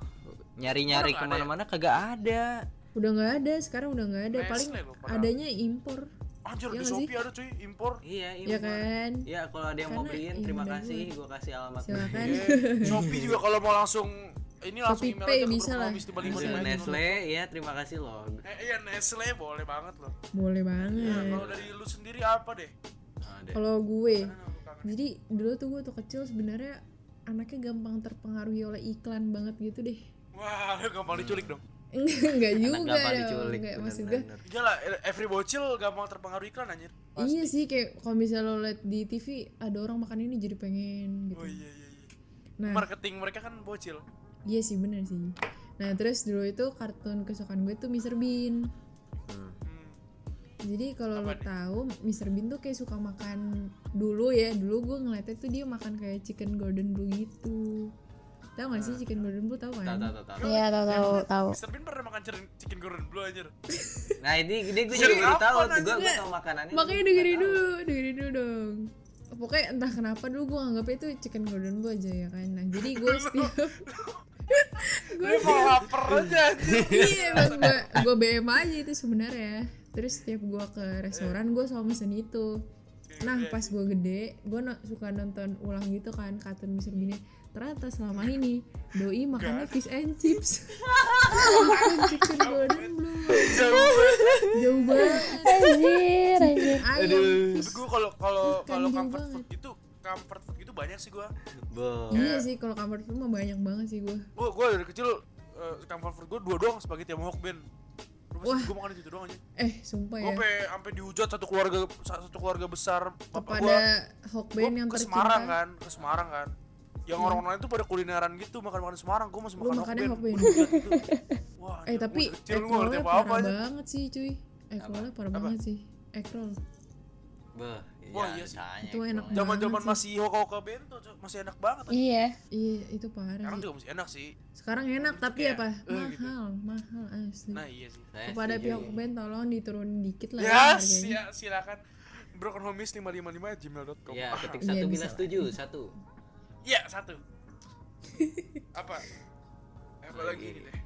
Speaker 4: nyari
Speaker 2: Orang
Speaker 4: nyari
Speaker 2: nggak ada
Speaker 4: kemana-mana kagak ada
Speaker 1: Udah nggak ada, sekarang udah nggak ada.
Speaker 2: Nestle
Speaker 1: Paling
Speaker 2: loh, padahal.
Speaker 1: adanya impor, Iya
Speaker 2: Anjir di
Speaker 1: nggak sih?
Speaker 2: Shopee ada cuy, impor.
Speaker 4: iya
Speaker 1: ya
Speaker 4: impor.
Speaker 1: kan?
Speaker 4: Iya, kalau ada yang mau
Speaker 1: Karena
Speaker 4: beliin
Speaker 1: iya,
Speaker 4: terima
Speaker 1: bener
Speaker 4: <laughs>
Speaker 1: kan?
Speaker 4: kasih gue kasih alamat
Speaker 1: Silakan.
Speaker 2: Eh, Shopee juga kalau mau langsung ini langsung
Speaker 1: Shopee
Speaker 2: email
Speaker 1: Pay
Speaker 2: aja ke
Speaker 1: bisa lah.
Speaker 2: Krokonomis tiba-tiba
Speaker 1: Bisa.
Speaker 2: lima
Speaker 1: Lagi
Speaker 4: Nestle ya terima kasih loh
Speaker 2: Eh, iya Nestle boleh banget loh.
Speaker 1: <laughs> boleh
Speaker 2: Iya,
Speaker 1: banget
Speaker 2: kalau dari lu sendiri apa deh?
Speaker 4: Ada.
Speaker 1: kalau gue
Speaker 2: Karena lu kangen.
Speaker 1: jadi dulu tuh gue tuh kecil sebenarnya anaknya gampang terpengaruhi oleh iklan banget gitu deh
Speaker 2: Wah, <laughs> lu gampang diculik dong.
Speaker 1: enggak
Speaker 4: Anak
Speaker 1: juga
Speaker 4: gampang
Speaker 1: dong
Speaker 4: diculik,
Speaker 1: enggak maksud gue
Speaker 4: bener-bener.
Speaker 2: Iya lah, every bocil gampang terpengaruh iklan anjir.
Speaker 1: iya sih kayak kalau misalnya lo liat di TV ada orang makan ini jadi pengen gitu
Speaker 2: Oh iya iya iya.
Speaker 1: nah
Speaker 2: Marketing mereka kan bocil.
Speaker 1: Iya sih bener sih. Nah terus dulu itu kartun kesukaan gue tuh Mr. Bean.
Speaker 4: Hmm.
Speaker 2: Hmm.
Speaker 1: Jadi kalau lo
Speaker 2: Apa nih?
Speaker 1: tahu Mr. Bean tuh kayak suka makan dulu ya. Dulu gue ngeliatnya tuh dia makan kayak chicken golden blue gitu. Tahu gak sih chicken golden blue tahu
Speaker 4: Tahu,
Speaker 1: kan?
Speaker 4: tahu, tahu, tahu.
Speaker 3: Iya, tahu tahu tahu.
Speaker 2: Mr. Bean pernah makan chicken- chicken goreng blue anjir.
Speaker 4: Nah ini ini gue juga baru
Speaker 2: Kenapa
Speaker 4: tahu
Speaker 2: nanya?
Speaker 4: gue gue tahu makanannya.
Speaker 1: Makanya
Speaker 4: gua
Speaker 1: dengerin
Speaker 4: nggak tahu.
Speaker 1: dulu, dengerin dulu dong. Pokoknya entah kenapa dulu gue anggapnya itu chicken golden blue aja ya kan. Nah jadi
Speaker 2: <laughs>
Speaker 1: gue setiap <laughs> gue
Speaker 2: Lu mau lapar aja anjir.
Speaker 1: iya emang gue gue BM aja itu sebenarnya terus setiap gue ke restoran gue selalu mesen itu nah
Speaker 2: Iya.
Speaker 1: pas gue gede gue suka nonton ulang gitu kan kartun Mr. Bean ternyata selama ini doi makannya fish and
Speaker 2: <laughs>
Speaker 1: chips Makan chicken golden blue jauh banget
Speaker 3: Anjir, anjir.
Speaker 1: ayam fish
Speaker 2: Gue kalau kalau
Speaker 1: Ikan
Speaker 2: kalau
Speaker 1: jauh
Speaker 2: comfort
Speaker 1: banget.
Speaker 2: food itu comfort food itu banyak sih gue.
Speaker 4: Bo.
Speaker 1: iya sih kalau kamar tuh mah banyak banget sih gue
Speaker 2: Gue gue dari kecil eh, comfort food gue dua doang spaghetti sama hokben.
Speaker 1: Wah.
Speaker 2: Gue makan itu doang aja.
Speaker 1: eh sumpah ya
Speaker 2: Gue sampai sampai dihujat satu keluarga satu keluarga besar bapak gue.
Speaker 1: kepada
Speaker 2: Gue
Speaker 1: Hokben yang
Speaker 2: ke Semarang
Speaker 1: tercinta
Speaker 2: kan, ke Semarang kan. Yang orang-orang lain tuh pada kulineran gitu makan-makan Semarang, gue masih
Speaker 1: Lu
Speaker 2: makan
Speaker 1: makannya
Speaker 2: hokben.
Speaker 1: hokben.
Speaker 2: Gua dihujat
Speaker 1: <laughs>
Speaker 2: gitu. Wah,
Speaker 1: eh
Speaker 2: anjir, gua
Speaker 1: tapi
Speaker 2: dari kecil gue ngerti
Speaker 1: ekrolnya
Speaker 2: apa apa
Speaker 1: parah
Speaker 2: aja.
Speaker 1: banget sih cuy ekrolnya parah
Speaker 2: Apa?
Speaker 1: banget sih ekrol
Speaker 4: Bo.
Speaker 2: Wah,
Speaker 4: Ya,
Speaker 2: iya sih.
Speaker 4: tanya.
Speaker 1: Itu enak banget.
Speaker 2: Zaman-zaman
Speaker 1: sih.
Speaker 2: masih hoka-hoka bento, Cok. masih enak banget. anjir.
Speaker 3: Iya.
Speaker 1: iya itu parah
Speaker 2: Sekarang
Speaker 1: sih
Speaker 2: juga masih enak sih.
Speaker 1: sekarang enak tapi
Speaker 2: kayak,
Speaker 1: apa
Speaker 2: eh, gitu.
Speaker 1: mahal mahal asli
Speaker 2: Nah, iya sih.
Speaker 4: Saya
Speaker 1: kepada
Speaker 4: setuju.
Speaker 1: pihak band tolong diturunin dikit lah ya
Speaker 2: Ya,
Speaker 1: harganya
Speaker 2: sia- silakan. Broken Homies 555 gmail.com.
Speaker 4: Ya, ketik
Speaker 1: Iya,
Speaker 4: satu
Speaker 1: bisa
Speaker 4: bila
Speaker 1: lah.
Speaker 4: setuju satu.
Speaker 2: Iya,
Speaker 4: <laughs>
Speaker 2: satu. apa? Eh, Apa
Speaker 4: Iya,
Speaker 2: lagi gitu ya? ini deh?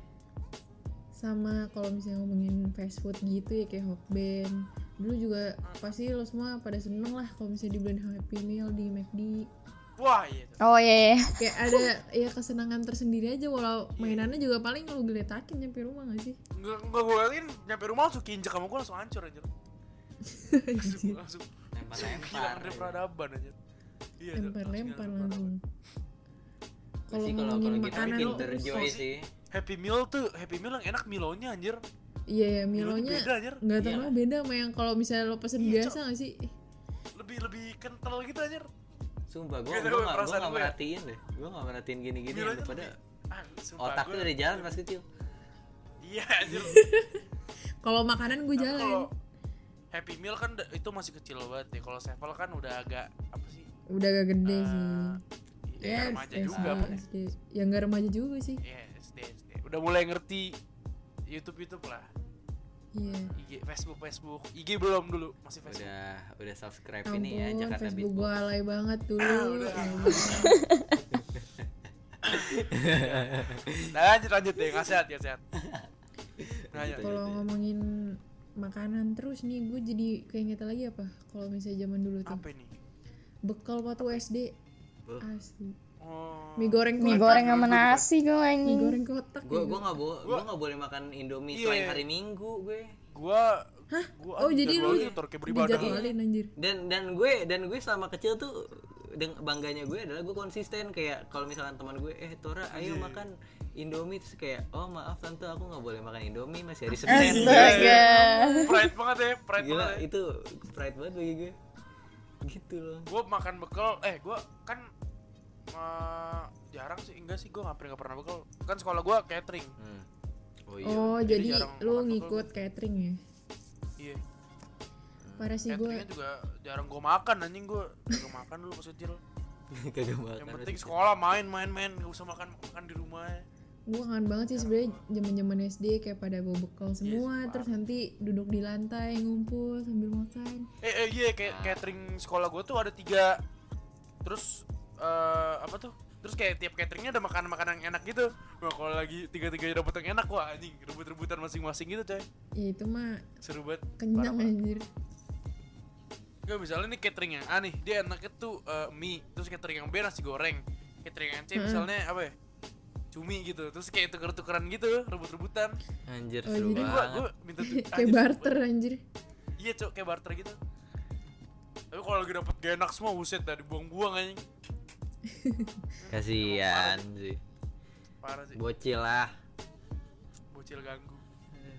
Speaker 1: sama kalau misalnya ngomongin fast food gitu ya kayak Hokben dulu juga
Speaker 2: Hmm.
Speaker 1: pasti lo semua pada seneng lah kalau misalnya dibeliin Happy Meal di McD
Speaker 2: Wah, iya. Cok.
Speaker 3: Oh iya, iya.
Speaker 1: kayak ada ya kesenangan tersendiri aja walau
Speaker 4: Iya.
Speaker 1: mainannya juga paling lo geletakin nyampe rumah gak
Speaker 4: <laughs>
Speaker 1: sih
Speaker 2: Nggak nggak gue yakin nyampe rumah langsung kinjek sama gue langsung hancur
Speaker 4: <laughs>
Speaker 2: anjir. langsung langsung
Speaker 4: Lempar-lempar.
Speaker 2: hilang dari peradaban anjir. Iya, Cok.
Speaker 1: lempar-lempar
Speaker 2: Langsung hilang dari peradaban.
Speaker 1: langsung kalau
Speaker 4: Kalau kalau
Speaker 1: ngomongin
Speaker 4: gitu
Speaker 1: makanan
Speaker 4: bikin
Speaker 1: lo
Speaker 4: terjoy
Speaker 2: khusus.
Speaker 4: sih.
Speaker 2: Happy Meal tuh, Happy Meal yang enak Milonya anjir.
Speaker 1: iya ya Milonya
Speaker 2: Milonya beda anjir.
Speaker 1: nggak tahu
Speaker 4: Iya.
Speaker 1: kenapa beda sama yang kalau misalnya lo pesen
Speaker 2: Iya,
Speaker 1: biasa gak sih
Speaker 2: Lebih lebih kental gitu anjir.
Speaker 4: Sumpah gue
Speaker 2: Gitu,
Speaker 4: gue nggak gue
Speaker 2: perasaan
Speaker 4: nggak
Speaker 2: gue.
Speaker 4: merhatiin deh. Gue nggak merhatiin gini-gini
Speaker 2: Milonya
Speaker 4: yang pada
Speaker 2: lebih- ah, sumpah,
Speaker 4: otak tuh
Speaker 2: gua-
Speaker 4: udah jalan pas kecil.
Speaker 2: Iya
Speaker 1: <laughs>
Speaker 2: anjir.
Speaker 1: kalau makanan gue
Speaker 2: Tapi
Speaker 1: jalan
Speaker 2: kalau Happy Meal kan da- itu masih kecil banget ya. Kalau Sevel kan udah agak apa sih?
Speaker 1: udah agak gede
Speaker 2: Eh,
Speaker 1: sih Iya,
Speaker 2: ya, remaja
Speaker 1: SD,
Speaker 2: juga apa ya?
Speaker 1: SD. ya nggak remaja juga sih
Speaker 2: Iya, SD, SD. Udah mulai ngerti YouTube YouTube lah.
Speaker 1: iya
Speaker 2: IG, Facebook, Facebook. IG belum dulu, masih Facebook.
Speaker 4: Udah udah subscribe
Speaker 1: ampun
Speaker 4: ini ya Jakarta
Speaker 1: Facebook
Speaker 4: <laughs> Beat.
Speaker 1: gue alay banget dulu
Speaker 2: Nah, Ah, <laughs> udah.
Speaker 1: Ya Allah.
Speaker 2: Nah, lanjut lanjut deh, nasihat ya,
Speaker 4: <laughs>
Speaker 2: sehat. Nah, ya.
Speaker 4: Gitu.
Speaker 1: kalau ngomongin makanan terus nih gue jadi keinget lagi apa kalau misalnya zaman dulu tuh
Speaker 2: Apa ini?
Speaker 1: bekal waktu SD
Speaker 4: Beuh.
Speaker 1: asli
Speaker 2: Oh.
Speaker 1: mie goreng
Speaker 3: Mie
Speaker 1: kotak
Speaker 3: goreng sama nasi gue
Speaker 1: mie
Speaker 3: anjing.
Speaker 1: goreng kotak ya.
Speaker 4: Gue gue nggak boleh gue nggak boleh makan Indomie
Speaker 2: Iya.
Speaker 4: selain hari Minggu gue.
Speaker 2: Gua gua
Speaker 1: oh jadi lu
Speaker 2: jadwalnya ntar kayak beribadah.
Speaker 1: dijadwalin anjir
Speaker 4: Dan dan gue dan gue selama kecil tuh deng- bangganya gue adalah gue konsisten kayak kalau misalkan teman gue eh Tora
Speaker 2: Iya.
Speaker 4: ayo makan Indomie terus kayak oh maaf tante aku nggak boleh makan Indomie
Speaker 2: Eh,
Speaker 4: masih hari Senin.
Speaker 2: iya,
Speaker 3: Astaga.
Speaker 1: Iya.
Speaker 2: Pride banget ya, pride
Speaker 4: Gila
Speaker 2: banget. Ya.
Speaker 4: itu pride banget bagi gue. Gitu loh.
Speaker 2: Gua makan bekal, eh gua kan eh, jarang sih, enggak sih gua hampir nggak pernah bekal. Kan sekolah gua catering.
Speaker 4: Hmm. Oh iya.
Speaker 1: oh
Speaker 2: Jadi
Speaker 1: jadi
Speaker 2: jarang
Speaker 1: lu
Speaker 2: makan bekal.
Speaker 1: ngikut catering ya
Speaker 2: Iya.
Speaker 1: parah sih gue
Speaker 2: Cateringnya juga jarang gua makan anjing gua jarang makan dulu pas kecil.
Speaker 4: <laughs> Kagak makan.
Speaker 2: Yang penting sekolah main main main, nggak usah makan makan di rumah.
Speaker 1: gue kangen banget sih sebenarnya zaman zaman SD kayak pada bawa bekal
Speaker 2: Iya,
Speaker 1: semua
Speaker 2: parah.
Speaker 1: terus nanti duduk di lantai ngumpul sambil makan
Speaker 2: Eh eh iya kayak catering sekolah gua tuh ada tiga. Terus eh apa tuh? Terus kayak tiap cateringnya ada makanan-makanan yang enak gitu. Wah, kalau lagi tiga-tiganya dapet yang enak, wah anjing, rebut-rebutan masing-masing gitu, coy.
Speaker 1: ya itu mah
Speaker 2: Seru banget.
Speaker 1: kenyang
Speaker 2: Parah, parah.
Speaker 1: anjir
Speaker 2: Gak misalnya nih catering yang A nih dia enaknya tuh eh, mie terus catering yang B nasi goreng catering yang C misalnya apa ya cumi gitu terus kayak tuker-tukeran gitu rebut-rebutan
Speaker 4: Anjir
Speaker 1: Oh,
Speaker 4: seru
Speaker 1: jadi-
Speaker 2: jadi gua gua
Speaker 4: banget.
Speaker 2: minta tu-
Speaker 1: kayak
Speaker 2: anjir,
Speaker 1: barter anjir
Speaker 2: iya cok kayak barter gitu tapi kalau lagi dapet gak enak semua buset dah dibuang-buang anjing
Speaker 4: Kasihan sih.
Speaker 2: parah sih
Speaker 4: Bocil lah.
Speaker 2: bocil ganggu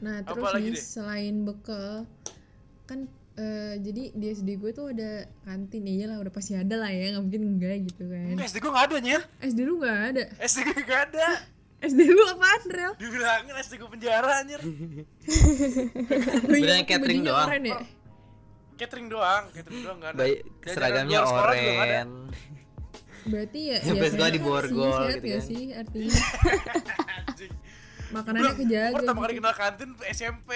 Speaker 1: Nah
Speaker 2: Apa
Speaker 1: terus
Speaker 2: lagi
Speaker 1: nih
Speaker 2: deh?
Speaker 1: selain bekal kan eh, jadi di SD gue tuh ada kantin ya lah udah pasti ada lah ya nggak mungkin enggak gitu kan
Speaker 2: enggak SD gue gak ada nyer
Speaker 1: SD lu nggak ada
Speaker 2: SD gue gak ada
Speaker 1: SD lu apaan Rel?
Speaker 2: dibilangin SD gue penjara anjir
Speaker 1: Lu yang
Speaker 4: Beneran
Speaker 1: Iya, pakai
Speaker 4: catering
Speaker 1: bajunya
Speaker 4: doang.
Speaker 1: keren ya?
Speaker 2: catering doang catering doang gak ada
Speaker 4: Baik,
Speaker 2: Jajanan
Speaker 4: seragamnya
Speaker 2: luar sekolah juga nggak ada.
Speaker 4: oren.
Speaker 1: Berarti ya
Speaker 4: Sampai
Speaker 1: biasanya
Speaker 4: sekolah di
Speaker 1: kan
Speaker 4: borgol
Speaker 1: sih, sehat
Speaker 4: gitu
Speaker 1: ya
Speaker 4: kan.
Speaker 1: sih
Speaker 4: <laughs>
Speaker 1: artinya
Speaker 2: anjing
Speaker 1: makanannya kejaga
Speaker 2: pertama kali
Speaker 1: gitu.
Speaker 2: kenal kantin tuh SMP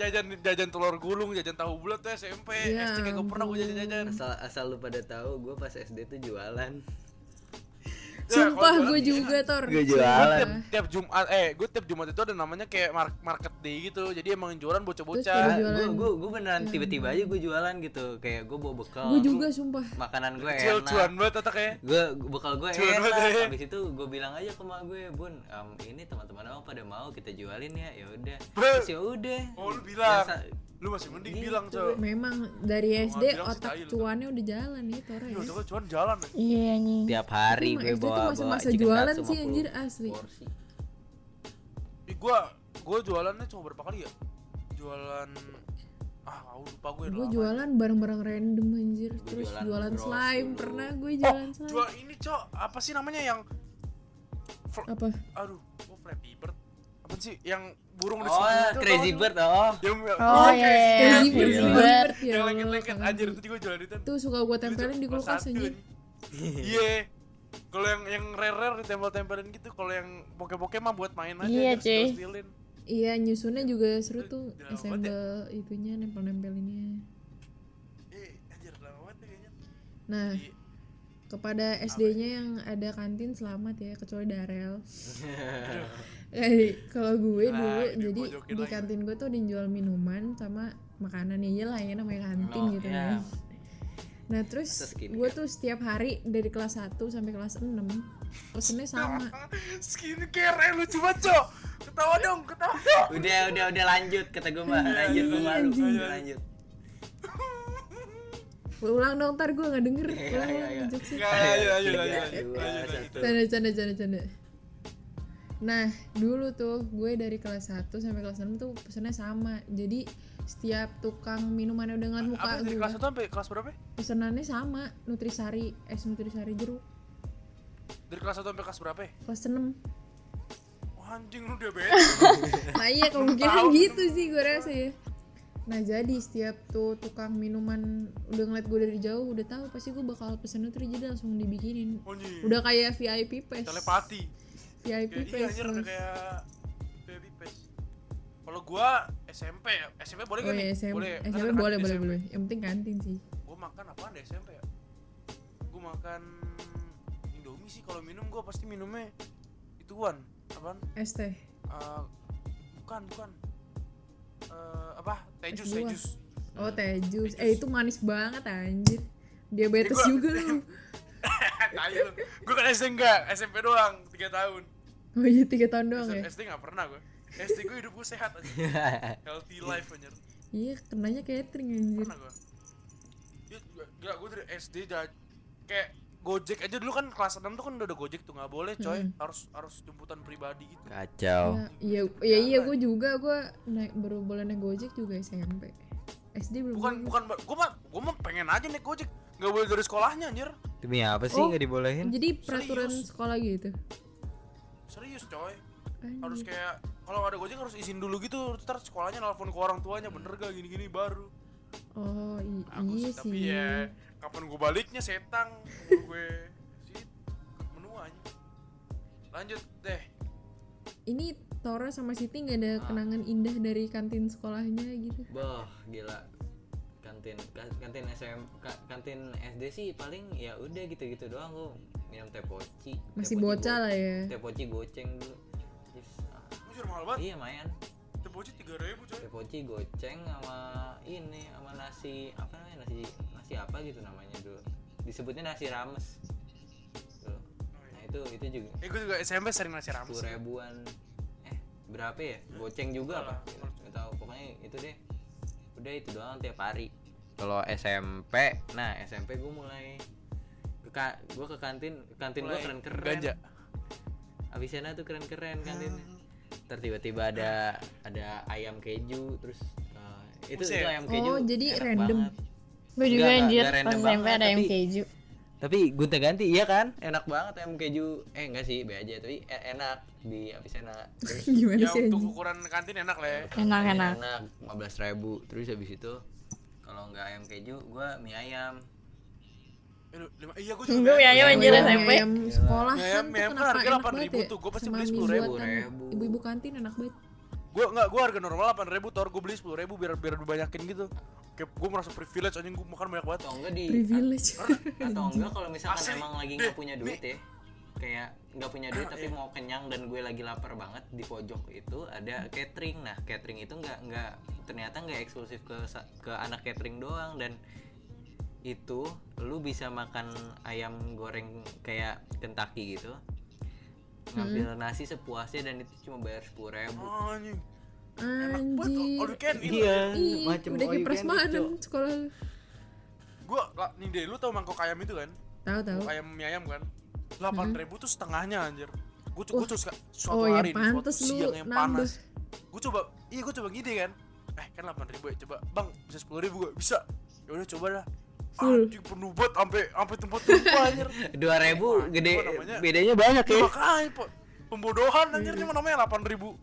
Speaker 2: jajan jajan telur gulung jajan tahu bulat tuh SMP
Speaker 1: Ya
Speaker 2: SD kayak gak pernah gue
Speaker 1: ampun.
Speaker 2: jajan jajan
Speaker 4: Asal asal lu pada tahu gue pas SD tuh jualan.
Speaker 2: Nah,
Speaker 1: Sumpah gue juga Tor
Speaker 4: Gue jualan.
Speaker 2: tiap Jumat eh gue tiap Jumat itu ada namanya kayak mar- market day gitu jadi emang jualan
Speaker 1: Terus baru-
Speaker 2: bocah-bocah
Speaker 4: Gue
Speaker 1: jualan.
Speaker 4: gue gue beneran tiba-tiba aja gue jualan gitu. Kayak gue bawa bekal.
Speaker 1: Gue juga sumpah
Speaker 4: Makanan gue
Speaker 2: kecil
Speaker 4: enak.
Speaker 2: cuan banget otaknya
Speaker 4: gue bekal gue
Speaker 2: Cuan
Speaker 4: enak
Speaker 2: banget ya.
Speaker 4: habis itu gue bilang aja ke mak gue bun em, ini teman-teman abang pada mau kita jualin ya ya udah
Speaker 2: Bro.
Speaker 4: terus ya udah
Speaker 2: Oh, lu bilang.
Speaker 4: Yang sa-
Speaker 2: lu masih mending
Speaker 4: Gitu.
Speaker 2: bilang cok
Speaker 1: Memang dari
Speaker 2: Gua
Speaker 1: SD
Speaker 2: bilang sih tai
Speaker 1: otak
Speaker 2: lu, Tor.
Speaker 1: cuannya udah jalan ya Tor ya
Speaker 2: Iya, cok cuan jalan anjing.
Speaker 3: Iya anjing.
Speaker 4: tiap hari
Speaker 1: Tapi
Speaker 4: gue
Speaker 1: emang SD tuh
Speaker 4: bawa bawa
Speaker 1: masa-masa
Speaker 4: chicken
Speaker 1: jualan
Speaker 4: katsu
Speaker 1: sih,
Speaker 4: 50
Speaker 1: anjir, asli.
Speaker 4: porsi.
Speaker 2: Ih, gua gua jualannya cuma berapa kali ya jualan ah aku lupa gue
Speaker 1: Gue jualan barang-barang random anjir Terus jualan
Speaker 4: jualan bros
Speaker 1: slime
Speaker 4: dulu.
Speaker 1: Pernah gue
Speaker 2: oh
Speaker 1: jualan slime
Speaker 2: jual ini cok apa sih namanya yang
Speaker 1: Apa?
Speaker 2: aduh gua Flappy Bird apa sih yang burung di situ
Speaker 4: oh
Speaker 2: itu
Speaker 4: crazy
Speaker 2: tau gak sih?
Speaker 4: bird oh
Speaker 2: yang
Speaker 3: Oh
Speaker 1: Kayak
Speaker 2: yang-
Speaker 3: iya.
Speaker 4: Iya.
Speaker 1: zipper,
Speaker 4: Iya.
Speaker 1: zipper, ya
Speaker 2: yang
Speaker 1: Allah,
Speaker 2: lengket-lengket
Speaker 1: kangen
Speaker 2: anjir
Speaker 1: gua.
Speaker 2: itu juga jualan itu
Speaker 1: Tuh suka gue tempelin di
Speaker 2: Cuma
Speaker 1: kulkas
Speaker 2: satu,
Speaker 1: aja
Speaker 2: gitu
Speaker 4: <laughs>
Speaker 2: anjing. iya kalau yang yang rare rare ditempel-tempelin gitu kalau yang bokeh-bokeh mah buat main aja
Speaker 3: Iya,
Speaker 2: terus
Speaker 3: cuy.
Speaker 2: terus-terusin.
Speaker 1: Iya nyusunnya juga seru
Speaker 2: Itu
Speaker 1: tuh
Speaker 2: udah lama banget
Speaker 1: Assemble itunya nempel-nempelinnya
Speaker 2: Ih, anjir lama banget tuh kayaknya
Speaker 1: Nah
Speaker 2: Di-
Speaker 1: kepada SD-nya
Speaker 4: ya?
Speaker 1: yang ada kantin selamat ya kecuali
Speaker 4: <laughs>
Speaker 1: Darel. Eh, kalau gue
Speaker 2: Nah,
Speaker 1: dulu
Speaker 2: ini
Speaker 1: jadi
Speaker 2: dipojokin
Speaker 1: di
Speaker 2: lagi.
Speaker 1: kantin gue tuh dijual minuman sama makanan ya lah ya namanya kantin
Speaker 4: Oh,
Speaker 1: gitu
Speaker 4: iya.
Speaker 1: kan. Nah
Speaker 4: Masa
Speaker 1: terus
Speaker 4: skincare?
Speaker 1: gue tuh setiap hari dari kelas 1 sampai kelas 6 pesennya
Speaker 4: <laughs>
Speaker 1: sama.
Speaker 2: skincare eh, lucu banget cok ketawa dong ketawa dong
Speaker 4: udah udah udah lanjut kata gue mah lanjut gue malu
Speaker 2: anjing.
Speaker 4: udah lanjut
Speaker 1: Gue ulang dong ntar gue nggak denger.
Speaker 4: Iya,
Speaker 1: Ulang
Speaker 4: iya,
Speaker 1: ulang
Speaker 4: iya.
Speaker 1: jokesnya.
Speaker 2: Nggak, ayo ayo ayo
Speaker 4: Tiga,
Speaker 2: ayo,
Speaker 4: dua,
Speaker 2: ayo, ayo.
Speaker 4: satu. <laughs>
Speaker 1: Canda canda canda canda. Nah, dulu tuh gue dari kelas 1 sampai kelas 6 tuh pesennya sama. Jadi setiap tukang minumannya udah ngeliat muka
Speaker 2: apa dari
Speaker 1: gue,
Speaker 2: kelas 1 sampai kelas berapa ya?
Speaker 1: pesenannya sama, nutrisari, es nutrisari jeruk.
Speaker 2: dari kelas 1 sampai kelas berapa ya?
Speaker 1: Kelas
Speaker 2: <laughs>
Speaker 1: 6.
Speaker 2: Wah, anjing lu
Speaker 1: <laughs>
Speaker 2: diabetes
Speaker 1: Nah iya kemungkinan gitu sih gue rasa ya. Nah jadi setiap tuh tukang minuman udah ngeliat gue dari jauh udah tahu pasti gue bakal pesen nutri jadi langsung dibikinin.
Speaker 2: anjing
Speaker 1: Udah kayak VIP pes.
Speaker 2: telepati
Speaker 1: VIP
Speaker 2: kayak iya
Speaker 1: pes.
Speaker 2: anjir
Speaker 1: terus.
Speaker 2: udah kayak baby face kalau gua SMP ya? SMP boleh
Speaker 1: Oh
Speaker 2: gak nih?
Speaker 1: iya, SMP,
Speaker 2: boleh Kan
Speaker 1: SMP
Speaker 2: ada
Speaker 1: boleh,
Speaker 2: kantin
Speaker 1: boleh,
Speaker 2: SMP.
Speaker 1: boleh. Yang penting kantin sih.
Speaker 2: gua makan apaan deh SMP ya? gua makan Indomie sih kalau minum gua pasti minumnya ituan apaan?
Speaker 1: Es teh.
Speaker 2: Eh, bukan bukan Eh, apa
Speaker 1: Es
Speaker 2: teh jus teh
Speaker 1: buah.
Speaker 2: jus <laughs>
Speaker 1: Oh teh jus.
Speaker 2: Hmm. Teh
Speaker 1: Eh
Speaker 2: jus.
Speaker 1: itu manis banget anjir. Diabetes
Speaker 2: Jadi gua-
Speaker 1: juga lu.
Speaker 2: Tahu. Gue kan SD enggak, SMP doang 3 tahun.
Speaker 1: <laughs> Oh iya tiga tahun doang
Speaker 2: SD,
Speaker 1: ya.
Speaker 2: SD enggak pernah gue. SD gue hidup gue sehat aja.
Speaker 4: <laughs>
Speaker 2: Healthy life anjir.
Speaker 1: Iya kenanya catering anjir.
Speaker 2: Pernah gue. Ya, enggak gue dari SD dah kayak Gojek aja dulu kan kelas 6 tuh kan udah ada Gojek tuh nggak boleh coy,
Speaker 1: Mm-mm.
Speaker 2: harus harus jemputan pribadi gitu.
Speaker 4: kacau
Speaker 1: Ya, iya iya iya gue juga gue naik baru boleh naik gojek juga SMP. SD belum.
Speaker 2: Bukan
Speaker 1: boleh.
Speaker 2: bukan gue mah gue mah pengen aja naik Gojek. Enggak boleh dari sekolahnya anjir.
Speaker 4: demi apa sih
Speaker 1: Oh,
Speaker 4: nggak dibolehin
Speaker 1: Jadi peraturan
Speaker 2: Serius?
Speaker 1: sekolah gitu.
Speaker 2: Serius coy.
Speaker 1: Anjir.
Speaker 2: Harus kayak kalau ada Gojek harus izin dulu gitu, terus sekolahnya nelpon ke orang tuanya bener gak gini-gini baru.
Speaker 1: Oh i-
Speaker 2: Aku
Speaker 1: iya
Speaker 2: sih, tapi
Speaker 1: sih.
Speaker 2: ya kapan gue baliknya setang Umur gue sih menuanya lanjut deh
Speaker 1: Ini Tora sama Siti nggak
Speaker 2: Ah.
Speaker 1: ada kenangan indah dari kantin sekolahnya gitu.
Speaker 4: Boh, gila. Kantin ka- kantin SM ka- kantin SD sih paling ya udah gitu-gitu doang gua minum teh poci. Teh
Speaker 1: Masih
Speaker 4: poci
Speaker 1: bocah
Speaker 4: go-
Speaker 1: lah ya.
Speaker 4: Teh poci goceng dulu. Terus, ah,
Speaker 2: jujur mahal banget
Speaker 4: iya mayan.
Speaker 2: itu bocil tiga ribu coy
Speaker 4: Teh poci goceng sama ini sama nasi apa namanya? Nasi nasi apa gitu namanya dulu. Disebutnya nasi rames. Dulu.
Speaker 2: Oh,
Speaker 4: Nah,
Speaker 2: iya.
Speaker 4: itu itu itu juga
Speaker 2: Eh gue juga SMP sering nasi rames.
Speaker 4: sepuluh ribuan eh berapa ya
Speaker 2: Hmm.
Speaker 4: goceng juga apa nggak tahu pokoknya itu deh udah itu doang tiap hari kalau SMP nah SMP gue mulai ke ka- gue ke kantin kantin gue
Speaker 2: Mulai
Speaker 4: keren keren
Speaker 2: ganja.
Speaker 4: Avicenna tuh keren keren
Speaker 2: Ah.
Speaker 4: kantinnya ntar tiba-tiba ada ada ayam keju terus eh, itu, itu
Speaker 2: Buset.
Speaker 4: ayam
Speaker 1: Oh,
Speaker 4: keju
Speaker 1: jadi
Speaker 4: enak
Speaker 1: random.
Speaker 4: banget.
Speaker 3: Gue juga
Speaker 4: Enggak,
Speaker 3: anjir
Speaker 4: enggak
Speaker 3: pas
Speaker 4: random
Speaker 3: SMP
Speaker 4: banget,
Speaker 3: ada yang
Speaker 4: tapi-
Speaker 3: keju.
Speaker 4: tapi gunta ganti iya kan enak banget ayam keju eh enggak sih be aja tapi e- enak di Avicenna terus
Speaker 1: <laughs> Gimana
Speaker 2: Ya
Speaker 1: sih
Speaker 2: untuk
Speaker 1: anjing?
Speaker 2: ukuran kantin enak lah ya.
Speaker 3: Enak
Speaker 4: Iya.
Speaker 3: enak.
Speaker 4: enak 15 ribu terus habis itu kalau nggak ayam keju gua mie ayam
Speaker 2: Aduh, lima- Iya gue juga.
Speaker 3: Gue mie ayam anjir
Speaker 1: Ayam-
Speaker 3: SMP.
Speaker 1: ayam sekolah kan
Speaker 2: Mie ayam-
Speaker 1: tuh
Speaker 2: mie ayam
Speaker 1: kenapa
Speaker 2: harga
Speaker 1: enak
Speaker 2: 8.000
Speaker 1: banget ya?
Speaker 2: tuh, gua pasti
Speaker 1: Sama
Speaker 2: beli
Speaker 1: mie
Speaker 2: 10.000.
Speaker 1: buatan Ibu-ibu kantin enak banget.
Speaker 2: ah. Gue nggak gue harga normal 8 ribu, tor gue beli 10 ribu biar biar dibanyakin gitu. Kayak gue merasa privilege anjing gue makan banyak banget.
Speaker 4: atau enggak di
Speaker 1: Privilege.
Speaker 4: atau enggak kalau misalkan
Speaker 2: Asli.
Speaker 4: emang lagi nggak punya duit ya kayak nggak punya duit tapi mau kenyang dan gue lagi lapar banget di pojok itu ada catering nah catering itu nggak nggak ternyata nggak eksklusif ke sa- ke anak catering doang dan itu lu bisa makan ayam goreng kayak Kentucky gitu
Speaker 3: Hmm.
Speaker 4: ngambil nasi sepuasnya dan itu cuma bayar sepuluh ribu
Speaker 2: Anjing. <laughs> Enak banget all you
Speaker 1: Anjir.
Speaker 2: can eat.
Speaker 4: iya
Speaker 1: Ih, udah kayak
Speaker 4: macam all you can eat,
Speaker 1: prasmanan
Speaker 4: Cok.
Speaker 1: sekolah.
Speaker 2: Gue nih deh lu tau mangkok ayam itu kan?
Speaker 1: Tahu tahu.
Speaker 2: Mangkok ayam mie ayam kan? 8 ribu tuh setengahnya anjir. Gue coba tuh suka- suatu
Speaker 1: Oh, ya
Speaker 2: hari nih, suatu
Speaker 1: pantes lu
Speaker 2: siang yang
Speaker 1: nambah.
Speaker 2: panas. Gue coba, iya gue coba ngide kan. Eh kan 8 ribu ya coba, bang bisa 10 ribu gue bisa. Ya udah coba dah.
Speaker 1: Full.
Speaker 2: Anjing penuh banget sampai sampai tempat tumpah anjir.
Speaker 4: dua ribu
Speaker 2: Wah,
Speaker 4: gede
Speaker 2: gua namanya-
Speaker 4: bedanya banyak ya
Speaker 2: Makanya Ah, po, pembodohan anjir
Speaker 4: Iya.
Speaker 2: ini mah namanya 8 ribu.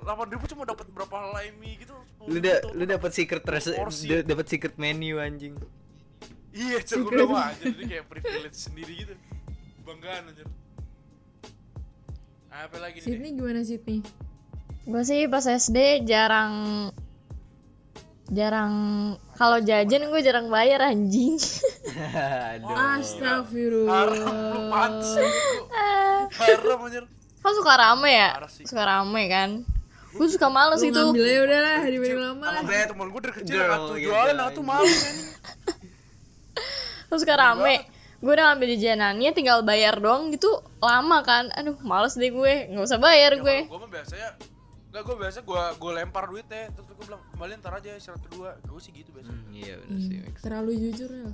Speaker 2: 8 ribu cuma dapat berapa helai mie gitu? 10
Speaker 4: lu
Speaker 2: ribu
Speaker 4: da
Speaker 2: tuh.
Speaker 4: lu dapat secret recipe
Speaker 2: Porsi.
Speaker 4: dapat secret menu anjing <laughs>
Speaker 2: Iya, cukup lama aja. Jadi kayak privilege sendiri gitu. Banggaan aja. Apa lagi nih?
Speaker 1: Sydney gimana Sydney?
Speaker 3: Gue sih pas SD jarang jarang kalau jajan gue jarang bayar anjing. <laughs>
Speaker 2: Oh. Haram
Speaker 4: Aduh.
Speaker 2: lu
Speaker 1: Astagfirullah.
Speaker 2: pantes gitu. Haram anjir.
Speaker 3: Kan suka rame ya?
Speaker 2: Parah sih.
Speaker 3: Suka rame kan? Gue suka males
Speaker 1: Lu
Speaker 3: itu.
Speaker 1: ngambil aja udah lah dibanding ya lama lah.
Speaker 2: Sama
Speaker 4: Bad
Speaker 2: temen gue dari kecil
Speaker 4: girl
Speaker 2: aku
Speaker 4: gitu
Speaker 2: jualan aku
Speaker 4: anjing.
Speaker 2: malu kan.
Speaker 3: Gue suka rame. Gue udah ngambil jajanannya tinggal bayar doang gitu lama kan. Aduh, males deh gue. nggak usah bayar gue.
Speaker 2: Gue mah biasanya Enggak, gue biasa gue gue lempar duitnya terus gue bilang kembaliin ntar aja istirahat kedua gue sih gitu biasa
Speaker 4: Hmm, Iya benar sih. Mix.
Speaker 1: Terlalu jujur ya.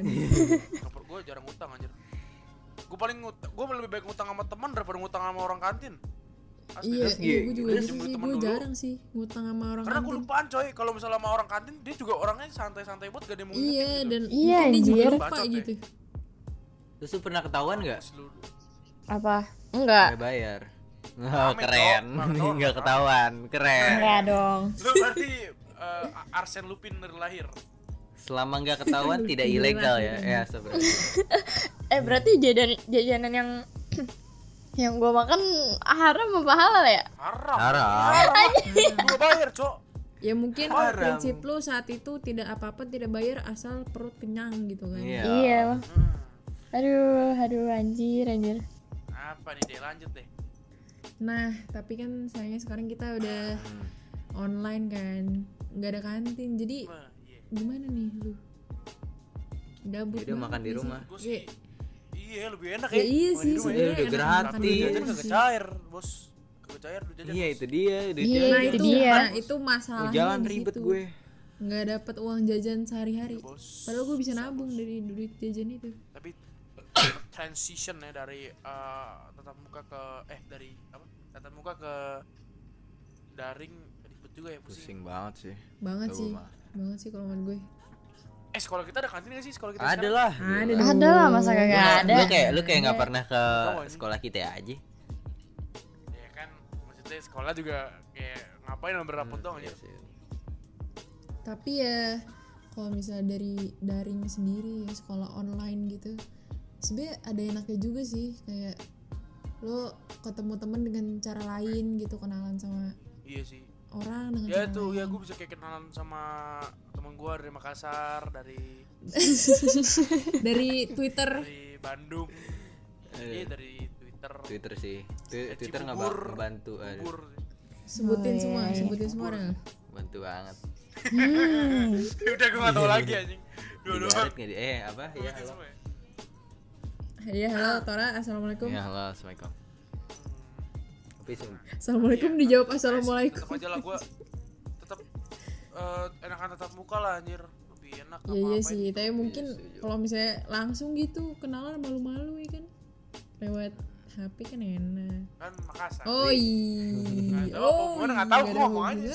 Speaker 1: <laughs>
Speaker 2: Nomor gue jarang utang anjir gue paling gue lebih baik ngutang sama teman daripada ngutang sama orang kantin Asli.
Speaker 1: Iya, iya
Speaker 4: gi-
Speaker 1: gue juga
Speaker 2: terus
Speaker 1: gitu
Speaker 2: jemput
Speaker 1: sih.
Speaker 2: temen
Speaker 1: Gue
Speaker 2: dulu.
Speaker 1: jarang sih ngutang sama orang kan.
Speaker 2: Karena gue
Speaker 1: kantin.
Speaker 2: lupaan coy, kalau misalnya sama orang kantin dia juga orangnya santai-santai banget gak ada yang mau ngingetin
Speaker 1: Iya,
Speaker 2: gitu.
Speaker 1: dan
Speaker 3: Iya,
Speaker 1: mungkin dia juga
Speaker 3: anjir.
Speaker 1: lupa
Speaker 2: Bacot ya.
Speaker 1: gitu.
Speaker 4: Terus lu pernah ketahuan nggak?
Speaker 2: Terus gitu. lu-
Speaker 3: Apa? Enggak.
Speaker 4: Nggak bayar. Oh,
Speaker 2: Rame,
Speaker 4: keren.
Speaker 2: Cok.
Speaker 4: <laughs>
Speaker 2: Rame, Cok.
Speaker 4: Nggak ketahuan. Keren.
Speaker 3: Enggak dong.
Speaker 2: Lu berarti eh, Arsene Lupin dari lahir.
Speaker 4: Selama
Speaker 3: <laughs>
Speaker 4: nggak ketahuan tidak ilegal ya. Ya sebenarnya.
Speaker 3: Eh, berarti jajan jajanan yang <clears throat> yang gue makan haram apa halal ya?
Speaker 2: Haram.
Speaker 4: Haram.
Speaker 2: Gue bayar, Cok.
Speaker 1: Ya mungkin
Speaker 4: Haram.
Speaker 1: prinsip lu saat itu tidak apa-apa tidak bayar asal perut kenyang gitu kan.
Speaker 4: Iya.
Speaker 3: Iya.
Speaker 2: Hmm.
Speaker 3: Aduh, aduh anjir, anjir.
Speaker 2: Apa nih deh lanjut deh.
Speaker 1: Nah, tapi kan sayangnya sekarang kita udah
Speaker 4: Hmm.
Speaker 1: online kan. nggak ada kantin. Jadi
Speaker 2: Wah, iya.
Speaker 1: gimana nih lu? Gabut.
Speaker 4: Jadi
Speaker 1: banget
Speaker 4: makan di
Speaker 1: gak sih?
Speaker 4: rumah.
Speaker 2: Gue sih Iya, lebih enak ya.
Speaker 1: Ya iya sih
Speaker 2: Main di rumah
Speaker 1: sebenarnya
Speaker 4: udah
Speaker 1: enakan
Speaker 4: gratis.
Speaker 1: makan di
Speaker 2: ya. Jajan
Speaker 1: rumah
Speaker 2: kagak
Speaker 1: sih.
Speaker 2: cair, Bos. Kagak cair lu jajan.
Speaker 4: Iya
Speaker 2: Bos.
Speaker 4: itu dia. Itu
Speaker 3: Iya,
Speaker 1: Nah
Speaker 3: Itu
Speaker 1: itu,
Speaker 3: dia. gitu.
Speaker 1: nah, itu masalahnya
Speaker 4: Jalan
Speaker 1: di
Speaker 4: ribet
Speaker 1: situ.
Speaker 4: gue.
Speaker 1: Nggak dapat uang jajan sehari-hari.
Speaker 2: Iya, Bos.
Speaker 1: Padahal gue bisa nabung dari duit jajan itu.
Speaker 2: Tapi <coughs> transition ya dari eh, tatap muka ke eh dari apa? Tatap muka ke daring ribet juga ya pusing.
Speaker 4: Pusing banget sih.
Speaker 1: Banget
Speaker 4: Tahu
Speaker 1: sih.
Speaker 4: mah.
Speaker 1: Banget sih kalau menurut gue.
Speaker 2: Eh sekolah kita ada kantin gak sih sekolah kita?
Speaker 4: Ada
Speaker 2: sekarang?
Speaker 4: lah.
Speaker 1: Ada
Speaker 4: Gila.
Speaker 1: dong.
Speaker 3: Ada lah masa
Speaker 4: Lu
Speaker 3: kagak
Speaker 4: nggak-
Speaker 3: ada.
Speaker 4: Lu kayak lu kayak nggak pernah ke
Speaker 2: Tahu aja.
Speaker 4: sekolah kita aja.
Speaker 2: Ya kan maksudnya sekolah juga kayak ngapain nomor rapot dong
Speaker 4: Iya
Speaker 2: ya.
Speaker 4: sih.
Speaker 1: Tapi ya kalau misalnya dari daring sendiri ya sekolah online gitu. Sebenernya ada enaknya juga sih kayak lo ketemu temen dengan cara lain gitu kenalan sama
Speaker 2: Iya sih.
Speaker 1: orang dengan
Speaker 2: Ya
Speaker 1: cara
Speaker 2: tuh ya
Speaker 1: lain.
Speaker 2: gue bisa kayak kenalan sama teman gue dari Makassar, dari
Speaker 1: dari Twitter
Speaker 2: dari Bandung.
Speaker 4: <laughs>
Speaker 2: Iya dari Twitter.
Speaker 4: Twitter sih. Twi-
Speaker 2: Eh,
Speaker 4: Twitter nggak
Speaker 2: Cibubur.
Speaker 4: bak- bantu. Aduh.
Speaker 2: Bubur. <laughs>
Speaker 1: sebutin semua sebutin semua Rel.
Speaker 4: Bantu banget.
Speaker 3: Hmm.
Speaker 4: Iya.
Speaker 2: Udah gue gak tau lagi anjing. Dua
Speaker 4: Tiga
Speaker 2: dua.
Speaker 4: hari nggak di- eh apa ya
Speaker 2: Sebutin
Speaker 4: halo.
Speaker 2: semua ya.
Speaker 1: Iya, halo Tora. Assalamualaikum.
Speaker 4: Ya halo, assalamualaikum. Tapi sum-
Speaker 1: Assalamualaikum
Speaker 2: Iya,
Speaker 1: dijawab
Speaker 2: tetep-
Speaker 1: assalamualaikum.
Speaker 2: tetep aja lah gue tetap enakan tetap muka lah anjir lebih enak
Speaker 1: Iya iya sih, tapi mungkin
Speaker 4: setuju.
Speaker 1: kalau misalnya langsung gitu kenalan malu-malu ya kan. Lewat HP kan enak.
Speaker 2: kan Makassar
Speaker 1: Oh iya.
Speaker 2: Nggak tahu, gua nggak tahu, gua ngomong aja.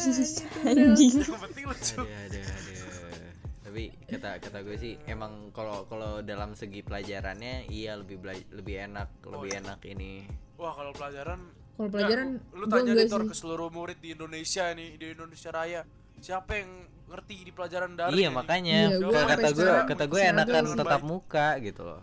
Speaker 3: anjing
Speaker 2: <laughs> yang penting lucu
Speaker 4: Aduh, aduh, aduh. Tapi kata kata gue sih emang kalau kalau dalam segi pelajarannya iya lebih bela- lebih enak,
Speaker 2: iya.
Speaker 4: lebih enak ini.
Speaker 2: wah kalau pelajaran
Speaker 1: Kalau pelajaran
Speaker 2: Nggak, lu, lu
Speaker 1: gua
Speaker 2: tanya
Speaker 1: enggak
Speaker 2: deh Tor,
Speaker 1: sih.
Speaker 2: ke seluruh murid di Indonesia nih di Indonesia Raya siapa yang ngerti di pelajaran daring
Speaker 4: iya,
Speaker 2: anjing?
Speaker 4: makanya
Speaker 1: Iya,
Speaker 2: gua
Speaker 4: kata-
Speaker 2: sampai
Speaker 4: kata gue
Speaker 2: sekarang-
Speaker 4: kata gue
Speaker 1: sekarang
Speaker 4: enakan
Speaker 2: gua-
Speaker 4: tetap muka gitu loh.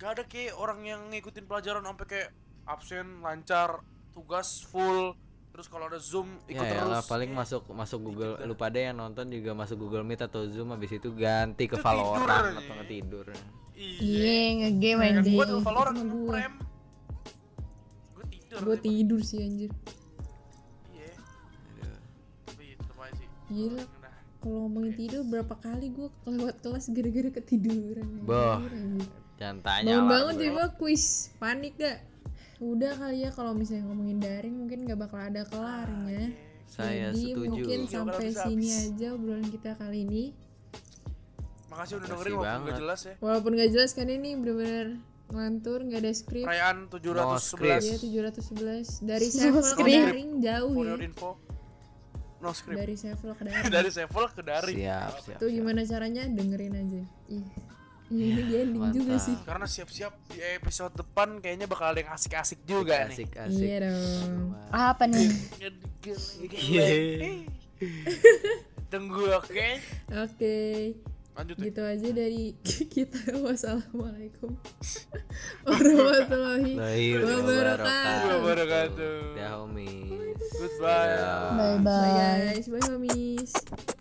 Speaker 2: Gak ada kayak orang yang ngikutin pelajaran sampai kayak absen lancar, tugas full, terus kalau ada zoom ikut
Speaker 4: Ya, elah,
Speaker 2: terus.
Speaker 4: paling masuk masuk Google
Speaker 2: dikit dah.
Speaker 4: lu pada yang nonton juga masuk Google Meet atau Zoom habis itu ganti ke
Speaker 2: Itu
Speaker 4: Valorant
Speaker 2: tidur,
Speaker 4: atau
Speaker 2: anjing.
Speaker 4: tidur.
Speaker 3: Iya,
Speaker 2: Iya.
Speaker 3: ngegame
Speaker 2: Kan
Speaker 3: anjing.
Speaker 2: gua dulu Valorant
Speaker 1: Sama gua.
Speaker 2: prem. Gua tidur.
Speaker 1: Gue
Speaker 2: daripada-
Speaker 1: tidur sih anjir.
Speaker 2: Iya.
Speaker 4: Aduh.
Speaker 2: Tapi tetep aja sih.
Speaker 1: Gila.
Speaker 2: Nah,
Speaker 1: Kalau ngomongin tidur berapa kali gue lewat kelas gara-gara ketiduran. anjir.
Speaker 4: Boh.
Speaker 1: Anjir.
Speaker 4: Jangan tanya lah
Speaker 1: bangun-bangun
Speaker 4: gue.
Speaker 1: tiba quiz panik gak udah kali ya kalau misalnya ngomongin daring mungkin gak bakal ada kelarnya
Speaker 2: Ah,
Speaker 4: Saya
Speaker 1: jadi
Speaker 4: setuju.
Speaker 1: mungkin
Speaker 2: Iya,
Speaker 1: sampai
Speaker 2: kalau bisa
Speaker 1: sini
Speaker 2: habis.
Speaker 1: aja obrolan kita kali ini
Speaker 2: Makasih udah
Speaker 4: Makasih
Speaker 2: dengerin walaupun
Speaker 4: banget.
Speaker 2: gak jelas ya.
Speaker 1: walaupun gak jelas kan ini bener-bener ngelantur gak ada skrip
Speaker 2: Perayaan
Speaker 1: ya
Speaker 2: 711
Speaker 1: 711 dari
Speaker 2: Iya,
Speaker 3: No
Speaker 1: sevel ke
Speaker 3: script.
Speaker 1: daring jauh
Speaker 2: for
Speaker 1: ya
Speaker 2: your info. No script.
Speaker 1: dari sevel ke daring
Speaker 2: <laughs> Dari Sevel ke daring.
Speaker 4: Siap, siap.
Speaker 1: tuh gimana caranya dengerin aja Ih, ini di ending juga
Speaker 4: Iya, mantap.
Speaker 1: sih
Speaker 2: Karena siap-siap di episode depan kayaknya bakal ada yang asik-asik juga nih.
Speaker 4: Asik, asik.
Speaker 1: iya dong
Speaker 3: Apa
Speaker 2: <clears throat>
Speaker 3: nih?
Speaker 2: Iya.
Speaker 4: Iya.
Speaker 2: Tunggu oke.
Speaker 1: oke
Speaker 2: Lanjut ya.
Speaker 1: gitu aja dari <laughs> kita
Speaker 4: <laughs>
Speaker 1: wassalamualaikum <laughs> warahmatullahi Wabarakatuh.
Speaker 2: Wabarakatuh.
Speaker 4: Dah homies.
Speaker 2: Goodbye.
Speaker 3: Bye
Speaker 4: Dadah.
Speaker 1: bye
Speaker 3: bye.
Speaker 1: guys bye homies